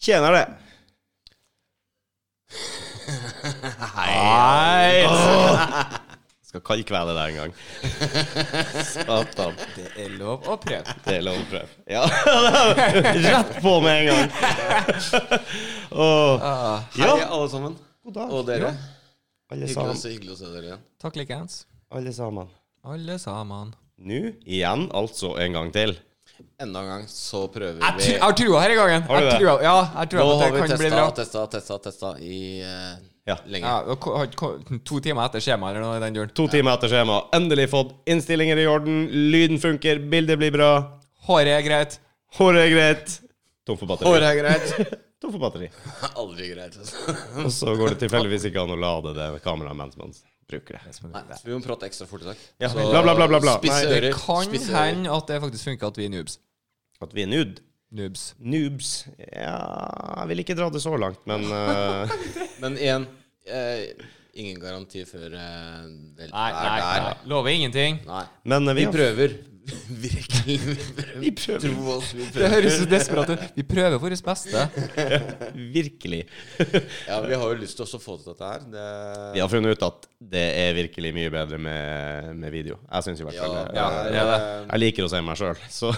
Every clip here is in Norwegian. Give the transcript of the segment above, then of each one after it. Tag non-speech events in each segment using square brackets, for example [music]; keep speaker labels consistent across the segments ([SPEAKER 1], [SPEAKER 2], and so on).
[SPEAKER 1] Tjener det. Nei! Skal kan kvele deg en gang. Satan.
[SPEAKER 2] Det er lov å prøve.
[SPEAKER 1] Det er lov å prøve. Ja, [laughs] det er rett på med en gang. Åh.
[SPEAKER 3] Hei,
[SPEAKER 1] Ja.
[SPEAKER 3] alle sammen.
[SPEAKER 1] God dag.
[SPEAKER 3] Og dere.
[SPEAKER 1] Alle
[SPEAKER 3] Hyggelig, å
[SPEAKER 1] sammen.
[SPEAKER 3] se- hyggelig å se dere igjen.
[SPEAKER 2] Takk likeens.
[SPEAKER 1] Alle sammen.
[SPEAKER 2] Alle sammen.
[SPEAKER 1] Nå igjen, altså en gang til.
[SPEAKER 3] Enda en gang så prøver
[SPEAKER 2] Jeg
[SPEAKER 3] vi.
[SPEAKER 2] tru- jeg har trua her i gangen.
[SPEAKER 1] Har du
[SPEAKER 2] Jeg
[SPEAKER 1] det?
[SPEAKER 2] trua- Ja, jeg
[SPEAKER 3] Nå
[SPEAKER 2] tror at
[SPEAKER 3] har
[SPEAKER 2] det
[SPEAKER 3] vi
[SPEAKER 2] kan bli
[SPEAKER 3] testa,
[SPEAKER 2] bra.
[SPEAKER 3] testa, testa, testa i eh,
[SPEAKER 1] Ja.
[SPEAKER 3] lenge.
[SPEAKER 2] Ja, og ko- har- ko- to timer etter skjema eller noe i den duren.
[SPEAKER 1] To timer etter skjema. Endelig fått innstillinger i orden. Lyden funker, bildet blir bra.
[SPEAKER 2] Håret er greit.
[SPEAKER 1] Håret er greit. Tom for
[SPEAKER 3] Håret
[SPEAKER 1] batteri.
[SPEAKER 3] er greit.
[SPEAKER 1] Tom for batteri.
[SPEAKER 3] [laughs] Aldri greit. altså.
[SPEAKER 2] [laughs]
[SPEAKER 1] Og så går det tilfeldigvis ikke an å lade det kameraet mens man bruker det.
[SPEAKER 3] Nei, så vi må prate ekstra fort i dag.
[SPEAKER 1] Ja,
[SPEAKER 3] Så
[SPEAKER 1] bla, bla, bla, bla, bla.
[SPEAKER 3] Spisse
[SPEAKER 1] Nei,
[SPEAKER 3] ører.
[SPEAKER 2] Kan
[SPEAKER 3] spisse ører.
[SPEAKER 2] hende at det faktisk funker at vi er noobs.
[SPEAKER 1] At vi er nude.
[SPEAKER 2] Noobs.
[SPEAKER 1] Noobs Ja, jeg vil ikke dra det så langt, men eh,
[SPEAKER 3] Men igjen, eh, ingen garanti før eh, det er
[SPEAKER 2] Nei, nei, nei.
[SPEAKER 3] der.
[SPEAKER 2] Lover ingenting.
[SPEAKER 3] Nei.
[SPEAKER 1] Men eh, vi
[SPEAKER 3] Vi prøver. [laughs] Virkelig. Vi prøver. Tro oss, vi
[SPEAKER 2] Det
[SPEAKER 3] prøver.
[SPEAKER 2] høres så desperat ut. Vi prøver vårt beste.
[SPEAKER 1] virkelig
[SPEAKER 3] Ja, vi har jo lyst til også å få til dette her. Det,
[SPEAKER 1] Vi har funnet ut at det er virkelig mye bedre med, med video. Jeg syns i hvert fall det.
[SPEAKER 2] ja,
[SPEAKER 3] det
[SPEAKER 2] det er
[SPEAKER 3] er-
[SPEAKER 1] Jeg liker å se meg sjøl, så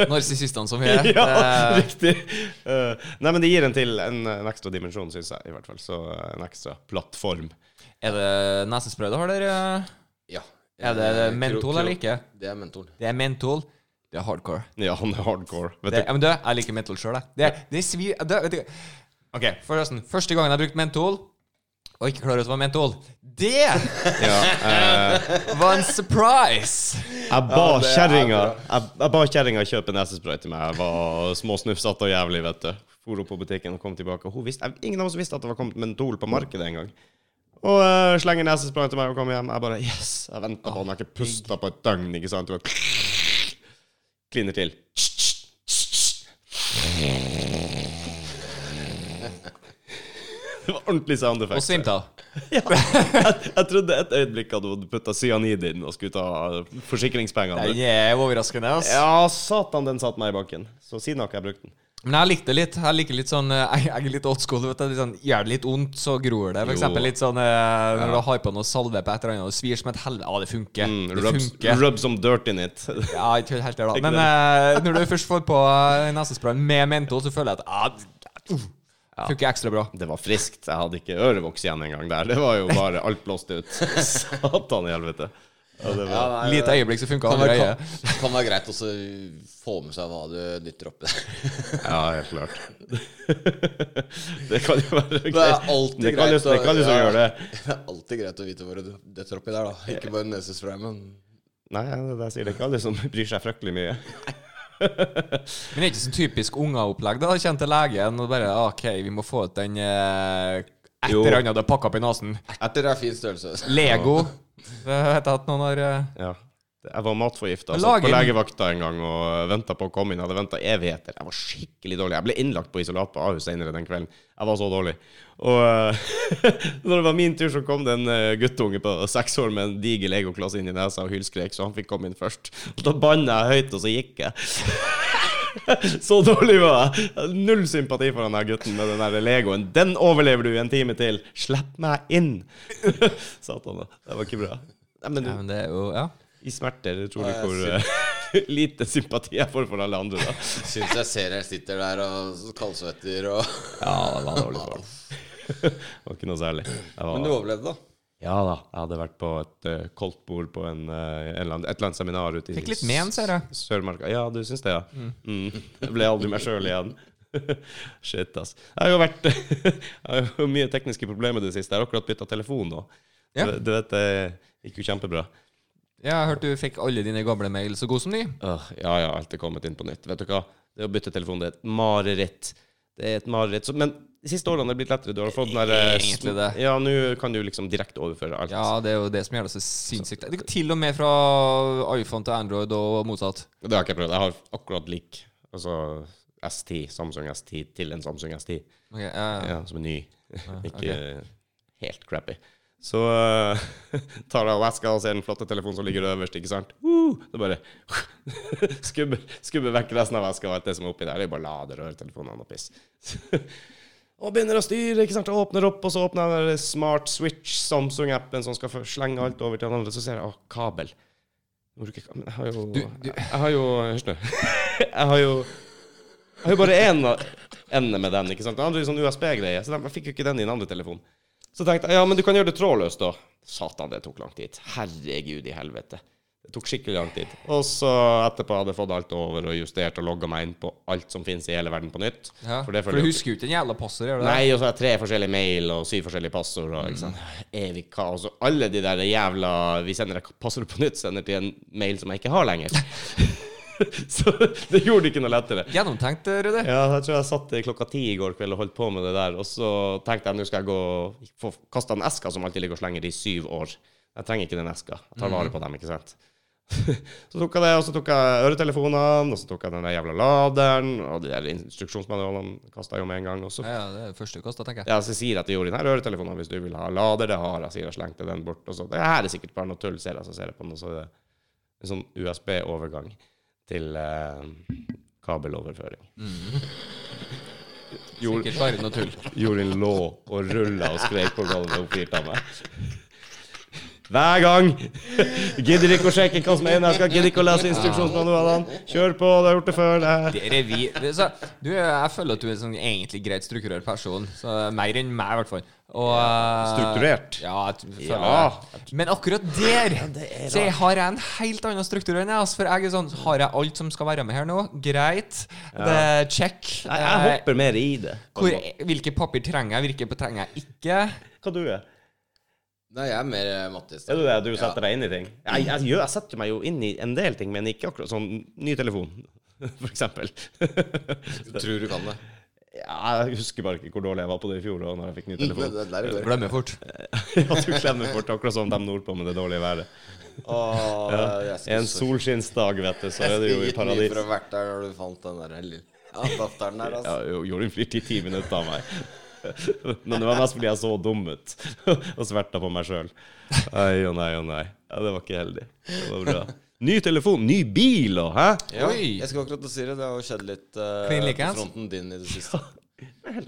[SPEAKER 2] Narsissistene som vi er.
[SPEAKER 1] [laughs] Ja,
[SPEAKER 2] Eh,
[SPEAKER 1] riktig. Eh, nei, men det gir en til en, en ekstra dimensjon, syns jeg, i hvert fall. Så eh, en ekstra plattform.
[SPEAKER 2] Er det nesespray du har der? eh?
[SPEAKER 3] Ja.
[SPEAKER 2] Er det
[SPEAKER 3] Eh,
[SPEAKER 2] mentol
[SPEAKER 3] kro- kro-
[SPEAKER 2] eller ikke?
[SPEAKER 3] Det er mentol.
[SPEAKER 2] Det er mentol. Det er hardcore.
[SPEAKER 1] Ja, han er hardcore. Vet
[SPEAKER 2] Det, ja, men du, jeg liker mentol sjøl, jeg. Det, det svir det, vet du. OK, forresten. Første gangen jeg brukte mentol, og ikke klarer ut hva mentol Det
[SPEAKER 1] du ja, eh,
[SPEAKER 2] var en surprise!
[SPEAKER 1] Jeg ba
[SPEAKER 3] det er
[SPEAKER 1] kjerringa
[SPEAKER 3] bra.
[SPEAKER 1] jeg, jeg ba kjerringa kjøpe nesespray til meg. Jeg var småsnufsete og jævlig, vet du. For opp på butikken og kom tilbake. Og Hun visste, jeg, ingen av oss visste at det var kommet mentol på markedet engang. Og eh, slenger nesesprayen til meg og kommer hjem. Jeg bare Yes! Jeg venta på den. Jeg har ikke pusta på et døgn, ikke sant? Du bare kliner til. Det var ordentlig sound effect.
[SPEAKER 2] Og svimte av.
[SPEAKER 1] Jeg, jeg trodde et øyeblikk at hun putta cyanid i den og skulle ta forsikringspengene.
[SPEAKER 2] Den er overraskende, ass.
[SPEAKER 1] Ja, satan, den satt meg i bakken. Så siden har ikke jeg brukt den.
[SPEAKER 2] Men jeg likte litt. Jeg liker litt sånn eh, Jeg jeg er litt old school. Vet du, litt sånn, Gjør det litt vondt, så gror det. For
[SPEAKER 1] Jo.
[SPEAKER 2] eksempel litt sånn eh, når du har på noe salve på et eller annet, og det svir som et helvete. Ja, det funker.
[SPEAKER 3] Mm,
[SPEAKER 2] det
[SPEAKER 1] Rub,
[SPEAKER 2] funker.
[SPEAKER 1] rub some dirt in it.
[SPEAKER 2] Ja, ikke helt det, da.
[SPEAKER 1] Ikke
[SPEAKER 2] Men eh, når du først får på eh, nesesprayen med mentol, så føler jeg at ah, uh, funker ekstra bra.
[SPEAKER 1] [laughs] Det var friskt. Jeg hadde ikke ørevoks igjen engang der. Det var jo bare alt blåst
[SPEAKER 3] [laughs]
[SPEAKER 1] ut. Satan i helvete. Ja, det var.
[SPEAKER 3] nei,
[SPEAKER 2] Lite øyeblikk, så funker
[SPEAKER 3] kan
[SPEAKER 2] andre
[SPEAKER 3] være,
[SPEAKER 2] øyet.
[SPEAKER 3] kan, kan være greit også få med seg hva du dytter oppi
[SPEAKER 1] [laughs]
[SPEAKER 3] der.
[SPEAKER 1] ja, helt klart. [laughs] Det kan jo være greit.
[SPEAKER 3] Det er alltid
[SPEAKER 1] det kan jo,
[SPEAKER 3] greit å-
[SPEAKER 1] det kan jo så
[SPEAKER 3] ja.
[SPEAKER 1] gjøre det.
[SPEAKER 3] [laughs] Det er alltid greit å vite hva du dytter oppi der, da. Ikke bare nesespray, men
[SPEAKER 1] Nei, det, det sier det ikke alle som bryr seg fryktelig mye.
[SPEAKER 2] Men det er ikke sånn typisk ungeopplegg. Da kjente legen og bare ah, OK, vi må få ut den eh, et
[SPEAKER 1] Jo.
[SPEAKER 2] eller annet du har pakka opp i nesen.
[SPEAKER 3] Etter er
[SPEAKER 1] [laughs]
[SPEAKER 3] fin størrelse. [laughs]
[SPEAKER 2] Lego. Det heter at noen har eh,
[SPEAKER 1] Ja. Jeg var matforgifta.
[SPEAKER 2] Men
[SPEAKER 1] Satt på
[SPEAKER 2] lager-
[SPEAKER 1] legevakta en gang og venta på å komme inn. Jeg Hadde venta evigheter. Jeg var skikkelig dårlig. Jeg ble innlagt på isolat på Ahus senere den kvelden. Jeg var så dårlig. Og eh, [laughs] når det var min tur, så kom det en eh, guttunge på seks år med en diger legokloss inn i nesa og hylskrek, så han fikk komme inn først. Og da banna jeg høyt, og så gikk jeg. [laughs] Så dårlig var jeg. jeg. hadde Null sympati for den her gutten med den der legoen. Den overlever du i en time til. Slipp meg inn! [laughs] Satan, da. det var ikke bra. Nei, men du,
[SPEAKER 2] Ja, men det er jo Ja.
[SPEAKER 1] i smerter tror du
[SPEAKER 3] Nei,
[SPEAKER 1] hvor eh, [laughs] lite sympati jeg får for alle andre, da.
[SPEAKER 3] Syns jeg ser jeg sitter der og kaldsvetter og
[SPEAKER 1] [laughs] [laughs] Ja, det var dårlig for [laughs] Det var ikke noe særlig. Jeg
[SPEAKER 3] Men
[SPEAKER 1] var,
[SPEAKER 3] du overlevde, da.
[SPEAKER 1] ja da, jeg hadde vært på et eh, koldtbord på en, eh, en eller annen, et eller annet seminar ute i
[SPEAKER 2] Fikk litt men, ser jeg.
[SPEAKER 1] Sørmarka. Ja, du syns det, ja? Mm. [laughs] Jeg ble aldri meg sjøl igjen. [laughs] Shit, ass. Jeg har jo vært [laughs] Jeg har jo mye tekniske problemer i det siste. Jeg har akkurat bytta telefon nå.
[SPEAKER 2] Ja.
[SPEAKER 1] Du, du vet, det gikk jo kjempebra.
[SPEAKER 2] Jeg har hørt du fikk alle dine gamle mail så god som ny.
[SPEAKER 1] Åh, ja, ja, alt er kommet inn på nytt. Vet du hva? Det å bytte telefon, det er et mareritt. Det er et mareritt. Så, men de siste årene har det blitt lettere. Du har fått den der eh, sm-
[SPEAKER 2] Egentlig det.
[SPEAKER 1] Ja, nå kan du liksom direkte overføre alt.
[SPEAKER 2] Ja, det er jo det som gjør det så sinnssykt. Det går til og med fra iPhone til Android og motsatt.
[SPEAKER 1] Det har jeg ikke prøvd. Jeg har akkurat lik. Altså S10, Samsung S10 til en Samsung S10.
[SPEAKER 2] Ok, ja.
[SPEAKER 1] Ja, som er ny. [laughs] ikke
[SPEAKER 2] ok.
[SPEAKER 1] helt crappy. Så eh, [laughs] tar jeg og vasker og ser den flotte telefonen som ligger øverst, ikke sant. Woo! det bare [laughs] skubber, skubber vekk resten av veska og alt det som er oppi der. Det er bare lader rørtelefonene og piss. [laughs] og begynner å styre, ikke sant. Åpner opp, og så åpner jeg den der Smart Switch, Samsung-appen som skal få- slenge alt over til den andre. Så ser jeg å, kabel. Jeg bruker kabel. Jeg har jo Jeg har jo Hysj nå. [laughs] Jeg har jo jeg har jo bare én av- ende med den. ikke sant? Den andre er sånn USB-greie, så den- jeg fikk jo ikke den i den andre telefonen. Så tenkte jeg ja, men du kan gjøre det trådløst, da. Satan, det tok lang tid. Herregud i helvete. Det tok skikkelig lang tid. Og så etterpå hadde jeg fått alt over og justert og logga meg inn på alt som finnes i hele verden på nytt.
[SPEAKER 2] ja.
[SPEAKER 1] For det
[SPEAKER 2] For
[SPEAKER 1] følger
[SPEAKER 2] du
[SPEAKER 1] jo
[SPEAKER 2] husker jo ikke den jævla passordet, gjør du det?
[SPEAKER 1] Nei, og så har jeg tre forskjellige mail og syv forskjellige passord. Og, ikke sant? Evig kaos. Og alle de der jævla Vi sender et passord på nytt, sender til en mail som jeg ikke har lenger. [laughs] så det gjorde det ikke noe lettere.
[SPEAKER 2] Gjennomtenkt, Rudi.
[SPEAKER 1] Ja, jeg tror jeg satt klokka ti i går kveld og holdt på med det der. Og så tenkte jeg nå skal jeg gå og få kasta den eska som alltid ligger og slenger i syv år. Jeg trenger ikke den eska. Jeg tar vare på dem, ikke sant. [laughs] så tok jeg det, og så tok jeg øretelefonene, og så tok jeg den der jævla laderen, og de der instruksjonsmanualene kasta jeg jo med en gang. Og så
[SPEAKER 2] Ja, ja, det er første kost, da, tenker jeg.
[SPEAKER 1] ja, så sier jeg at jeg gjorde den her øretelefonen hvis du vil ha lader. Det har jeg, sier jeg, slengte den bort. Og så det her er sikkert bare noe tull, ser jeg, så ser jeg på den, og så er det en sånn USB-overgang til eh, kabeloverføring. Gjorde,
[SPEAKER 2] Mm. Sikkert bare noe tull.
[SPEAKER 1] gjorde en lå og rulla og skrek på gulvet og flirte av meg. Hver gang! Gidder ikke å sjekke hva som er inni eska, gidder ikke å lese instruksjonsmanualene. Kjør på, du har gjort det før. Det.
[SPEAKER 2] Det er revy. Det, er så, du, jeg føler at du er en sånn egentlig greit strukturert person. Så Mer enn meg, i hvert fall. Og,
[SPEAKER 1] Strukturert?
[SPEAKER 2] Ja, jeg t- føler
[SPEAKER 1] Ja.
[SPEAKER 2] det. Men akkurat der så jeg har jeg en helt annen struktur enn jeg. altså, For jeg er sånn Har jeg alt som skal være med her nå? Greit. Det check.
[SPEAKER 1] Jeg, jeg
[SPEAKER 2] Eh,
[SPEAKER 1] hopper mer i det.
[SPEAKER 2] Hvor, hvilke papir trenger jeg, hvilke trenger jeg ikke?
[SPEAKER 1] Hva du er
[SPEAKER 3] Nei, jeg er mer eh, Mattis.
[SPEAKER 1] Er det det? Du setter deg inn i ting? Jeg, jeg, gjør- jeg setter meg jo inn i en del ting, men ikke akkurat sånn ny telefon, [laughs] for eksempel. [laughs]
[SPEAKER 3] Du tror du kan det.
[SPEAKER 1] Ja, jeg husker bare ikke hvor dårlig jeg var på det i fjor, og når jeg fikk ny
[SPEAKER 3] Det
[SPEAKER 1] [laughs]
[SPEAKER 3] [laughs]
[SPEAKER 1] telefon. [laughs]
[SPEAKER 3] det er der det går.
[SPEAKER 2] Glemmer fort.
[SPEAKER 1] At du klemmer fort, akkurat som dem nordpå med det dårlige været. [laughs]
[SPEAKER 3] Åh, jeg skulle
[SPEAKER 1] En
[SPEAKER 3] så-
[SPEAKER 1] solskinnsdag, vet du, så er det jo i
[SPEAKER 3] [laughs] Jeg skulle gitt
[SPEAKER 1] paradis.
[SPEAKER 3] mye for å ha vært der når du fant den der lille ja, datteren der, altså.
[SPEAKER 1] Ja, jo- Jorunn flirte i ti minutter av meg. [laughs] Men det var mest fordi jeg så dum ut [laughs] og sverta på meg sjøl. Nei og nei og nei. Ja, det var ikke heldig. Det var bra. Ny telefon, ny bil og hæ?
[SPEAKER 3] Ja,
[SPEAKER 2] Oi.
[SPEAKER 3] jeg skulle akkurat til å si det. Det har jo skjedd litt eh,
[SPEAKER 2] Klin like,
[SPEAKER 3] på
[SPEAKER 2] ass.
[SPEAKER 3] fronten din i det siste.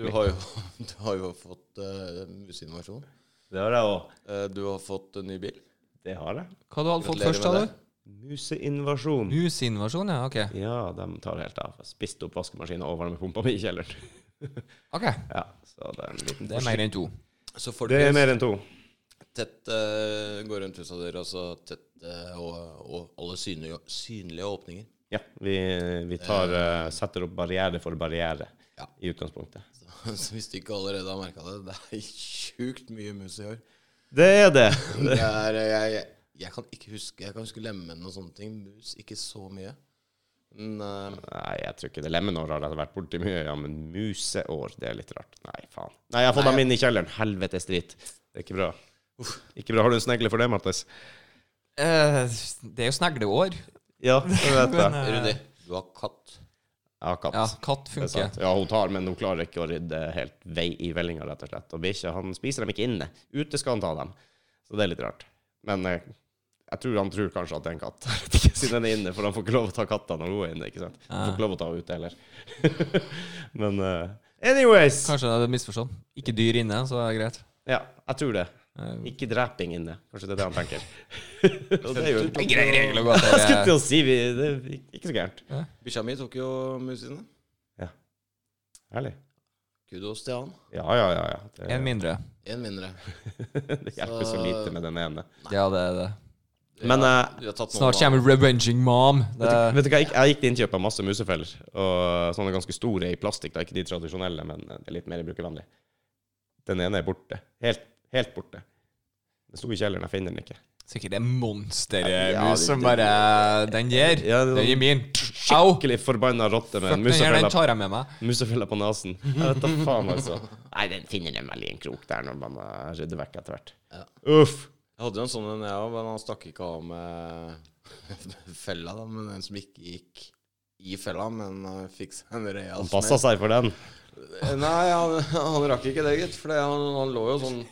[SPEAKER 3] Du har jo, [laughs] du har jo fått eh, museinnovasjon.
[SPEAKER 1] Det har jeg òg.
[SPEAKER 3] Eh, du har fått en ny bil.
[SPEAKER 1] Det har jeg.
[SPEAKER 2] Hva du hadde fått
[SPEAKER 3] Gratulerer
[SPEAKER 2] først, sa
[SPEAKER 3] med
[SPEAKER 2] du?
[SPEAKER 1] Museinvasjon.
[SPEAKER 2] Musinvasjon, ja. Ok.
[SPEAKER 1] Ja, de tar helt av. Jeg spiste opp vaskemaskinen og varmepumpa mi i kjelleren. [laughs]
[SPEAKER 2] Ok,
[SPEAKER 1] Ja, så det er en liten
[SPEAKER 2] Det er mer enn to.
[SPEAKER 3] Så folk
[SPEAKER 1] Det er mer enn to.
[SPEAKER 3] tett eh, går rundt huset deres, altså tett eh, og, og alle synlige, synlige åpninger. [laughs]
[SPEAKER 1] Ja, vi, vi tar, eh, setter opp barriere for barriere
[SPEAKER 3] Ja.
[SPEAKER 1] i utgangspunktet.
[SPEAKER 3] Så, så hvis du ikke allerede har merka det, det er sjukt mye mus i år.
[SPEAKER 1] Det er det.
[SPEAKER 3] Det er, eh, jeg, jeg, jeg kan ikke huske Jeg kan huske lemen og sånne ting. Mus ikke så mye. Men eh,
[SPEAKER 1] Nei, jeg tror ikke det. Lemenår har jeg vært borti mye, ja, men museår, det er litt rart. Nei, faen. Nei, jeg har fått dem inn i kjelleren. Helvetes drit. Det er ikke bra. Ikke bra. Har du en snegle for det, Mattis?
[SPEAKER 2] Eh, det er jo snegleår.
[SPEAKER 1] Ja, det vet
[SPEAKER 2] Men,
[SPEAKER 1] jeg.
[SPEAKER 2] eh,
[SPEAKER 3] Rudi, du har katt.
[SPEAKER 1] Jeg har katt.
[SPEAKER 2] Ja, katt
[SPEAKER 1] Det er
[SPEAKER 2] funker.
[SPEAKER 1] sant. Ja, hun tar, men hun klarer ikke å rydde helt vei i vellinga, rett og slett. Og bikkja, han spiser dem ikke inne. Ute skal han ta dem. Så det er litt rart. Men eh, jeg tror han tror kanskje at det er en katt, [laughs] Jeg vet ikke, siden den er inne, for han får ikke lov å ta katta når hun er inne, ikke sant? Han
[SPEAKER 2] Ah.
[SPEAKER 1] får ikke lov å ta henne ute heller. [laughs] men eh, anyways!
[SPEAKER 2] Kanskje det er misforstått. Ikke dyr inne, så er det greit.
[SPEAKER 1] Ja, jeg tror det.
[SPEAKER 2] Eh,
[SPEAKER 1] Ikke dreping inne. Kanskje det er det han
[SPEAKER 2] [laughs]
[SPEAKER 1] tenker. Og det er jo
[SPEAKER 2] en grei regel å gå [laughs]
[SPEAKER 1] Jeg skulle
[SPEAKER 2] etter.
[SPEAKER 1] til å si vi, det er ikke så gærent.
[SPEAKER 3] Bikkja mi tok jo musene.
[SPEAKER 1] Herlig.
[SPEAKER 3] Kudos til han.
[SPEAKER 1] Ja, ja, ja. ja. Det,
[SPEAKER 2] En mindre.
[SPEAKER 3] Én mindre.
[SPEAKER 1] [laughs] det hjelper så lite med den ene.
[SPEAKER 2] Ja, det er det.
[SPEAKER 1] Men eh,
[SPEAKER 3] Du har tatt noen
[SPEAKER 2] Snart
[SPEAKER 3] av-
[SPEAKER 2] kommer Revenging Mom. Det
[SPEAKER 1] Vet du,
[SPEAKER 2] er
[SPEAKER 1] vet du hva, jeg, gikk- jeg gikk til innkjøp av masse musefeller. Og sånne ganske store i plastikk. da, Ikke de tradisjonelle, men eh, litt mer brukervennlig. Den ene er borte. Helt, helt borte. Den sto i kjelleren, jeg finner den ikke.
[SPEAKER 2] Sikkert det monstermus
[SPEAKER 1] Ja, det-
[SPEAKER 2] som
[SPEAKER 1] det-
[SPEAKER 2] bare Den der,
[SPEAKER 1] Ja, det-
[SPEAKER 2] den gir min. Au!
[SPEAKER 1] Skikkelig forbanna rotte med en
[SPEAKER 2] Den her, den
[SPEAKER 1] musefelle
[SPEAKER 2] tar jeg med meg.
[SPEAKER 1] Musefella på nesen. Jeg vet da faen, altså. Nei, den finner den vel i en krok der når man eh, rydder vekk etter hvert. Uff.
[SPEAKER 3] Jeg hadde jo en sånn en, jeg òg, men han stakk ikke av med [laughs] fella, da. Men en som ikke gikk i fella, men eh, fikk seg en real
[SPEAKER 1] Han passa seg for den.
[SPEAKER 3] smell. Eh, Nei, han, han rakk ikke det, gitt. For det- han, han lå jo sånn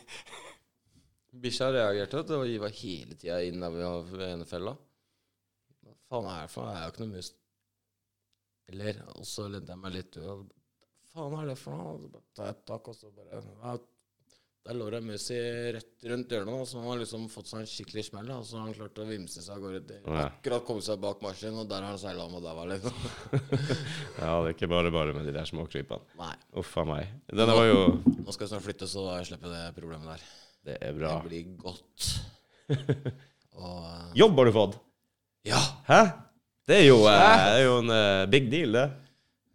[SPEAKER 3] Bikkja reagerte, vet du. Og var hele tida innover ved ene fella. Hva faen er det for noe? Det er jo ikke noe mus. Eller Og så ledde jeg meg litt ut. og Hva faen er det for noe? Og så bare tar jeg et tak, og så bare ja, Der lå det en mus i rett rundt hjørnet, da, så han har liksom fått seg en skikkelig smell. da, Så han klarte å vimse seg av gårde. til-
[SPEAKER 1] Ja.
[SPEAKER 3] Akkurat kom seg bak marsjen, og der har han seila om og der var det liksom. [laughs]
[SPEAKER 1] Ja, det er ikke bare bare med de der småkrypene.
[SPEAKER 3] Nei.
[SPEAKER 1] Uff a meg. Den var jo
[SPEAKER 3] Nå skal jeg snart flytte, så jeg slipper det problemet der.
[SPEAKER 1] Det er bra.
[SPEAKER 3] Det blir godt. [laughs] Og eh,
[SPEAKER 1] Jobb har du fått.
[SPEAKER 3] ja.
[SPEAKER 1] Hæ? Det er jo, eh, det er jo en eh, big deal, det.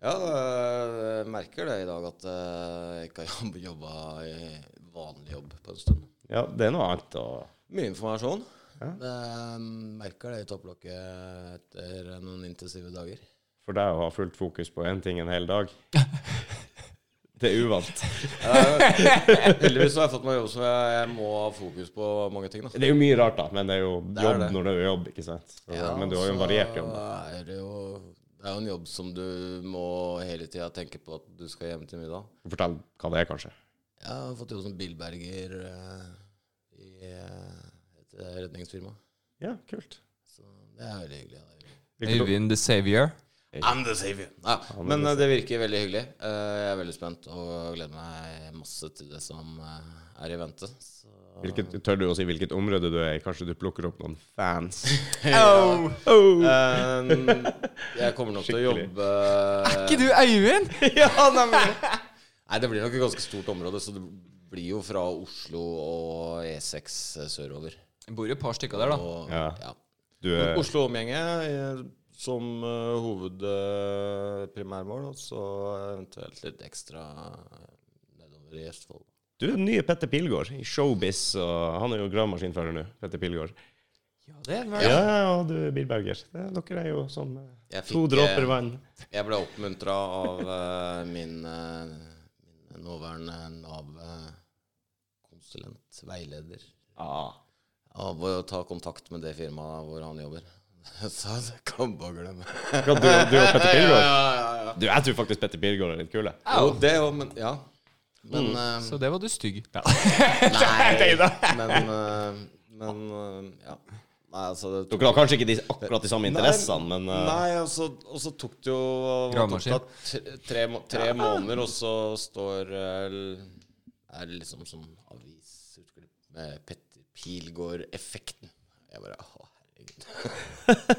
[SPEAKER 3] Ja, eh, jeg merker det i dag at eh, jeg ikke har [laughs] jobba i vanlig jobb på en stund.
[SPEAKER 1] Ja, det er noe annet å
[SPEAKER 3] Mye informasjon. Jeg merker det i topplokket etter noen intensive
[SPEAKER 1] [laughs]
[SPEAKER 3] dager.
[SPEAKER 1] For deg å ha fullt fokus på én ting en hel [laughs] dag. Det er uvant.
[SPEAKER 3] Heldigvis så har jeg fått meg jobb som jeg, jeg må ha fokus på mange ting. da.
[SPEAKER 1] Det er jo mye rart, da, men det er jo
[SPEAKER 3] Det er
[SPEAKER 1] jobb
[SPEAKER 3] det.
[SPEAKER 1] når det er jobb, ikke sant? Så,
[SPEAKER 3] Ja,
[SPEAKER 1] men du har jo en
[SPEAKER 3] så
[SPEAKER 1] variert jobb.
[SPEAKER 3] Er det, jo, det er jo en jobb som du må hele tida tenke på at du skal hjem til middag.
[SPEAKER 1] Fortell hva det er, kanskje.
[SPEAKER 3] Jeg har fått jobb som bilberger eh, i eh, et redningsfirma.
[SPEAKER 1] Ja, kult.
[SPEAKER 3] Så det er veldig hyggelig. Det er hyggelig.
[SPEAKER 2] Øyvind the Savior.
[SPEAKER 3] I'm the savior. Ja, men eh, det virker veldig hyggelig. Eh, jeg er veldig spent og gleder meg masse til det som eh, er i vente. Så,
[SPEAKER 1] Hvilket, tør du å si hvilket område du er i? Kanskje du plukker opp noen fans?
[SPEAKER 2] Au!
[SPEAKER 1] Oh.
[SPEAKER 3] Eh, [laughs] jeg kommer nok til å
[SPEAKER 1] Skikkelig.
[SPEAKER 3] jobbe
[SPEAKER 1] Eh.
[SPEAKER 2] Er ikke du [laughs] Øyvind?
[SPEAKER 1] ja, nemlig!
[SPEAKER 3] Nei, det blir nok et ganske stort område, så det blir jo fra Oslo og E6 sørover.
[SPEAKER 2] Det bor jo et par stykker der, da.
[SPEAKER 3] Og,
[SPEAKER 1] Ja.
[SPEAKER 3] ja.
[SPEAKER 1] Du
[SPEAKER 3] Men
[SPEAKER 1] er
[SPEAKER 3] Oslo omgjenge eh, som eh, hovedprimærmål, og så eventuelt litt ekstra eh, nedover i Østfold.
[SPEAKER 1] du er den nye Petter Pilgaard i Showbiz, og han er jo gravemaskinfører nå. Petter Pilgaard.
[SPEAKER 2] Ja, det er vel-
[SPEAKER 1] Ja, og du er bilberger. Det- Dere er jo som eh,
[SPEAKER 3] Jeg
[SPEAKER 1] to
[SPEAKER 3] fikk, eh,
[SPEAKER 1] dråper vann.
[SPEAKER 3] Jeg ble oppmuntra av eh, min, eh, min nåværende Nav-konsulent, veileder,
[SPEAKER 1] Ah.
[SPEAKER 3] av å ta kontakt med det firmaet hvor han jobber. [laughs] Så det kan bare glemme.
[SPEAKER 1] Ja, du, du og Petter Pilgaard?
[SPEAKER 3] ja, ja.
[SPEAKER 1] Du, jeg tror faktisk Petter Pilgaard er litt kul. jeg.
[SPEAKER 3] Jo, det òg, men Ja. Men
[SPEAKER 1] Mm.
[SPEAKER 3] eh,
[SPEAKER 2] Så det var du stygg.
[SPEAKER 3] Nei, men, eh, men eh, ja. Nei, altså det tok,
[SPEAKER 1] Dere har kanskje ikke de, akkurat de samme interessene, men eh,
[SPEAKER 3] Nei, og så, og så tok det jo hva tok det,
[SPEAKER 2] Gravemaskin.
[SPEAKER 3] tre, tre, må- tre måneder, og så står eh, l- Er det liksom som avisutklipp med Petter Pilgaard-effekten. Jeg bare Å, herregud. [laughs]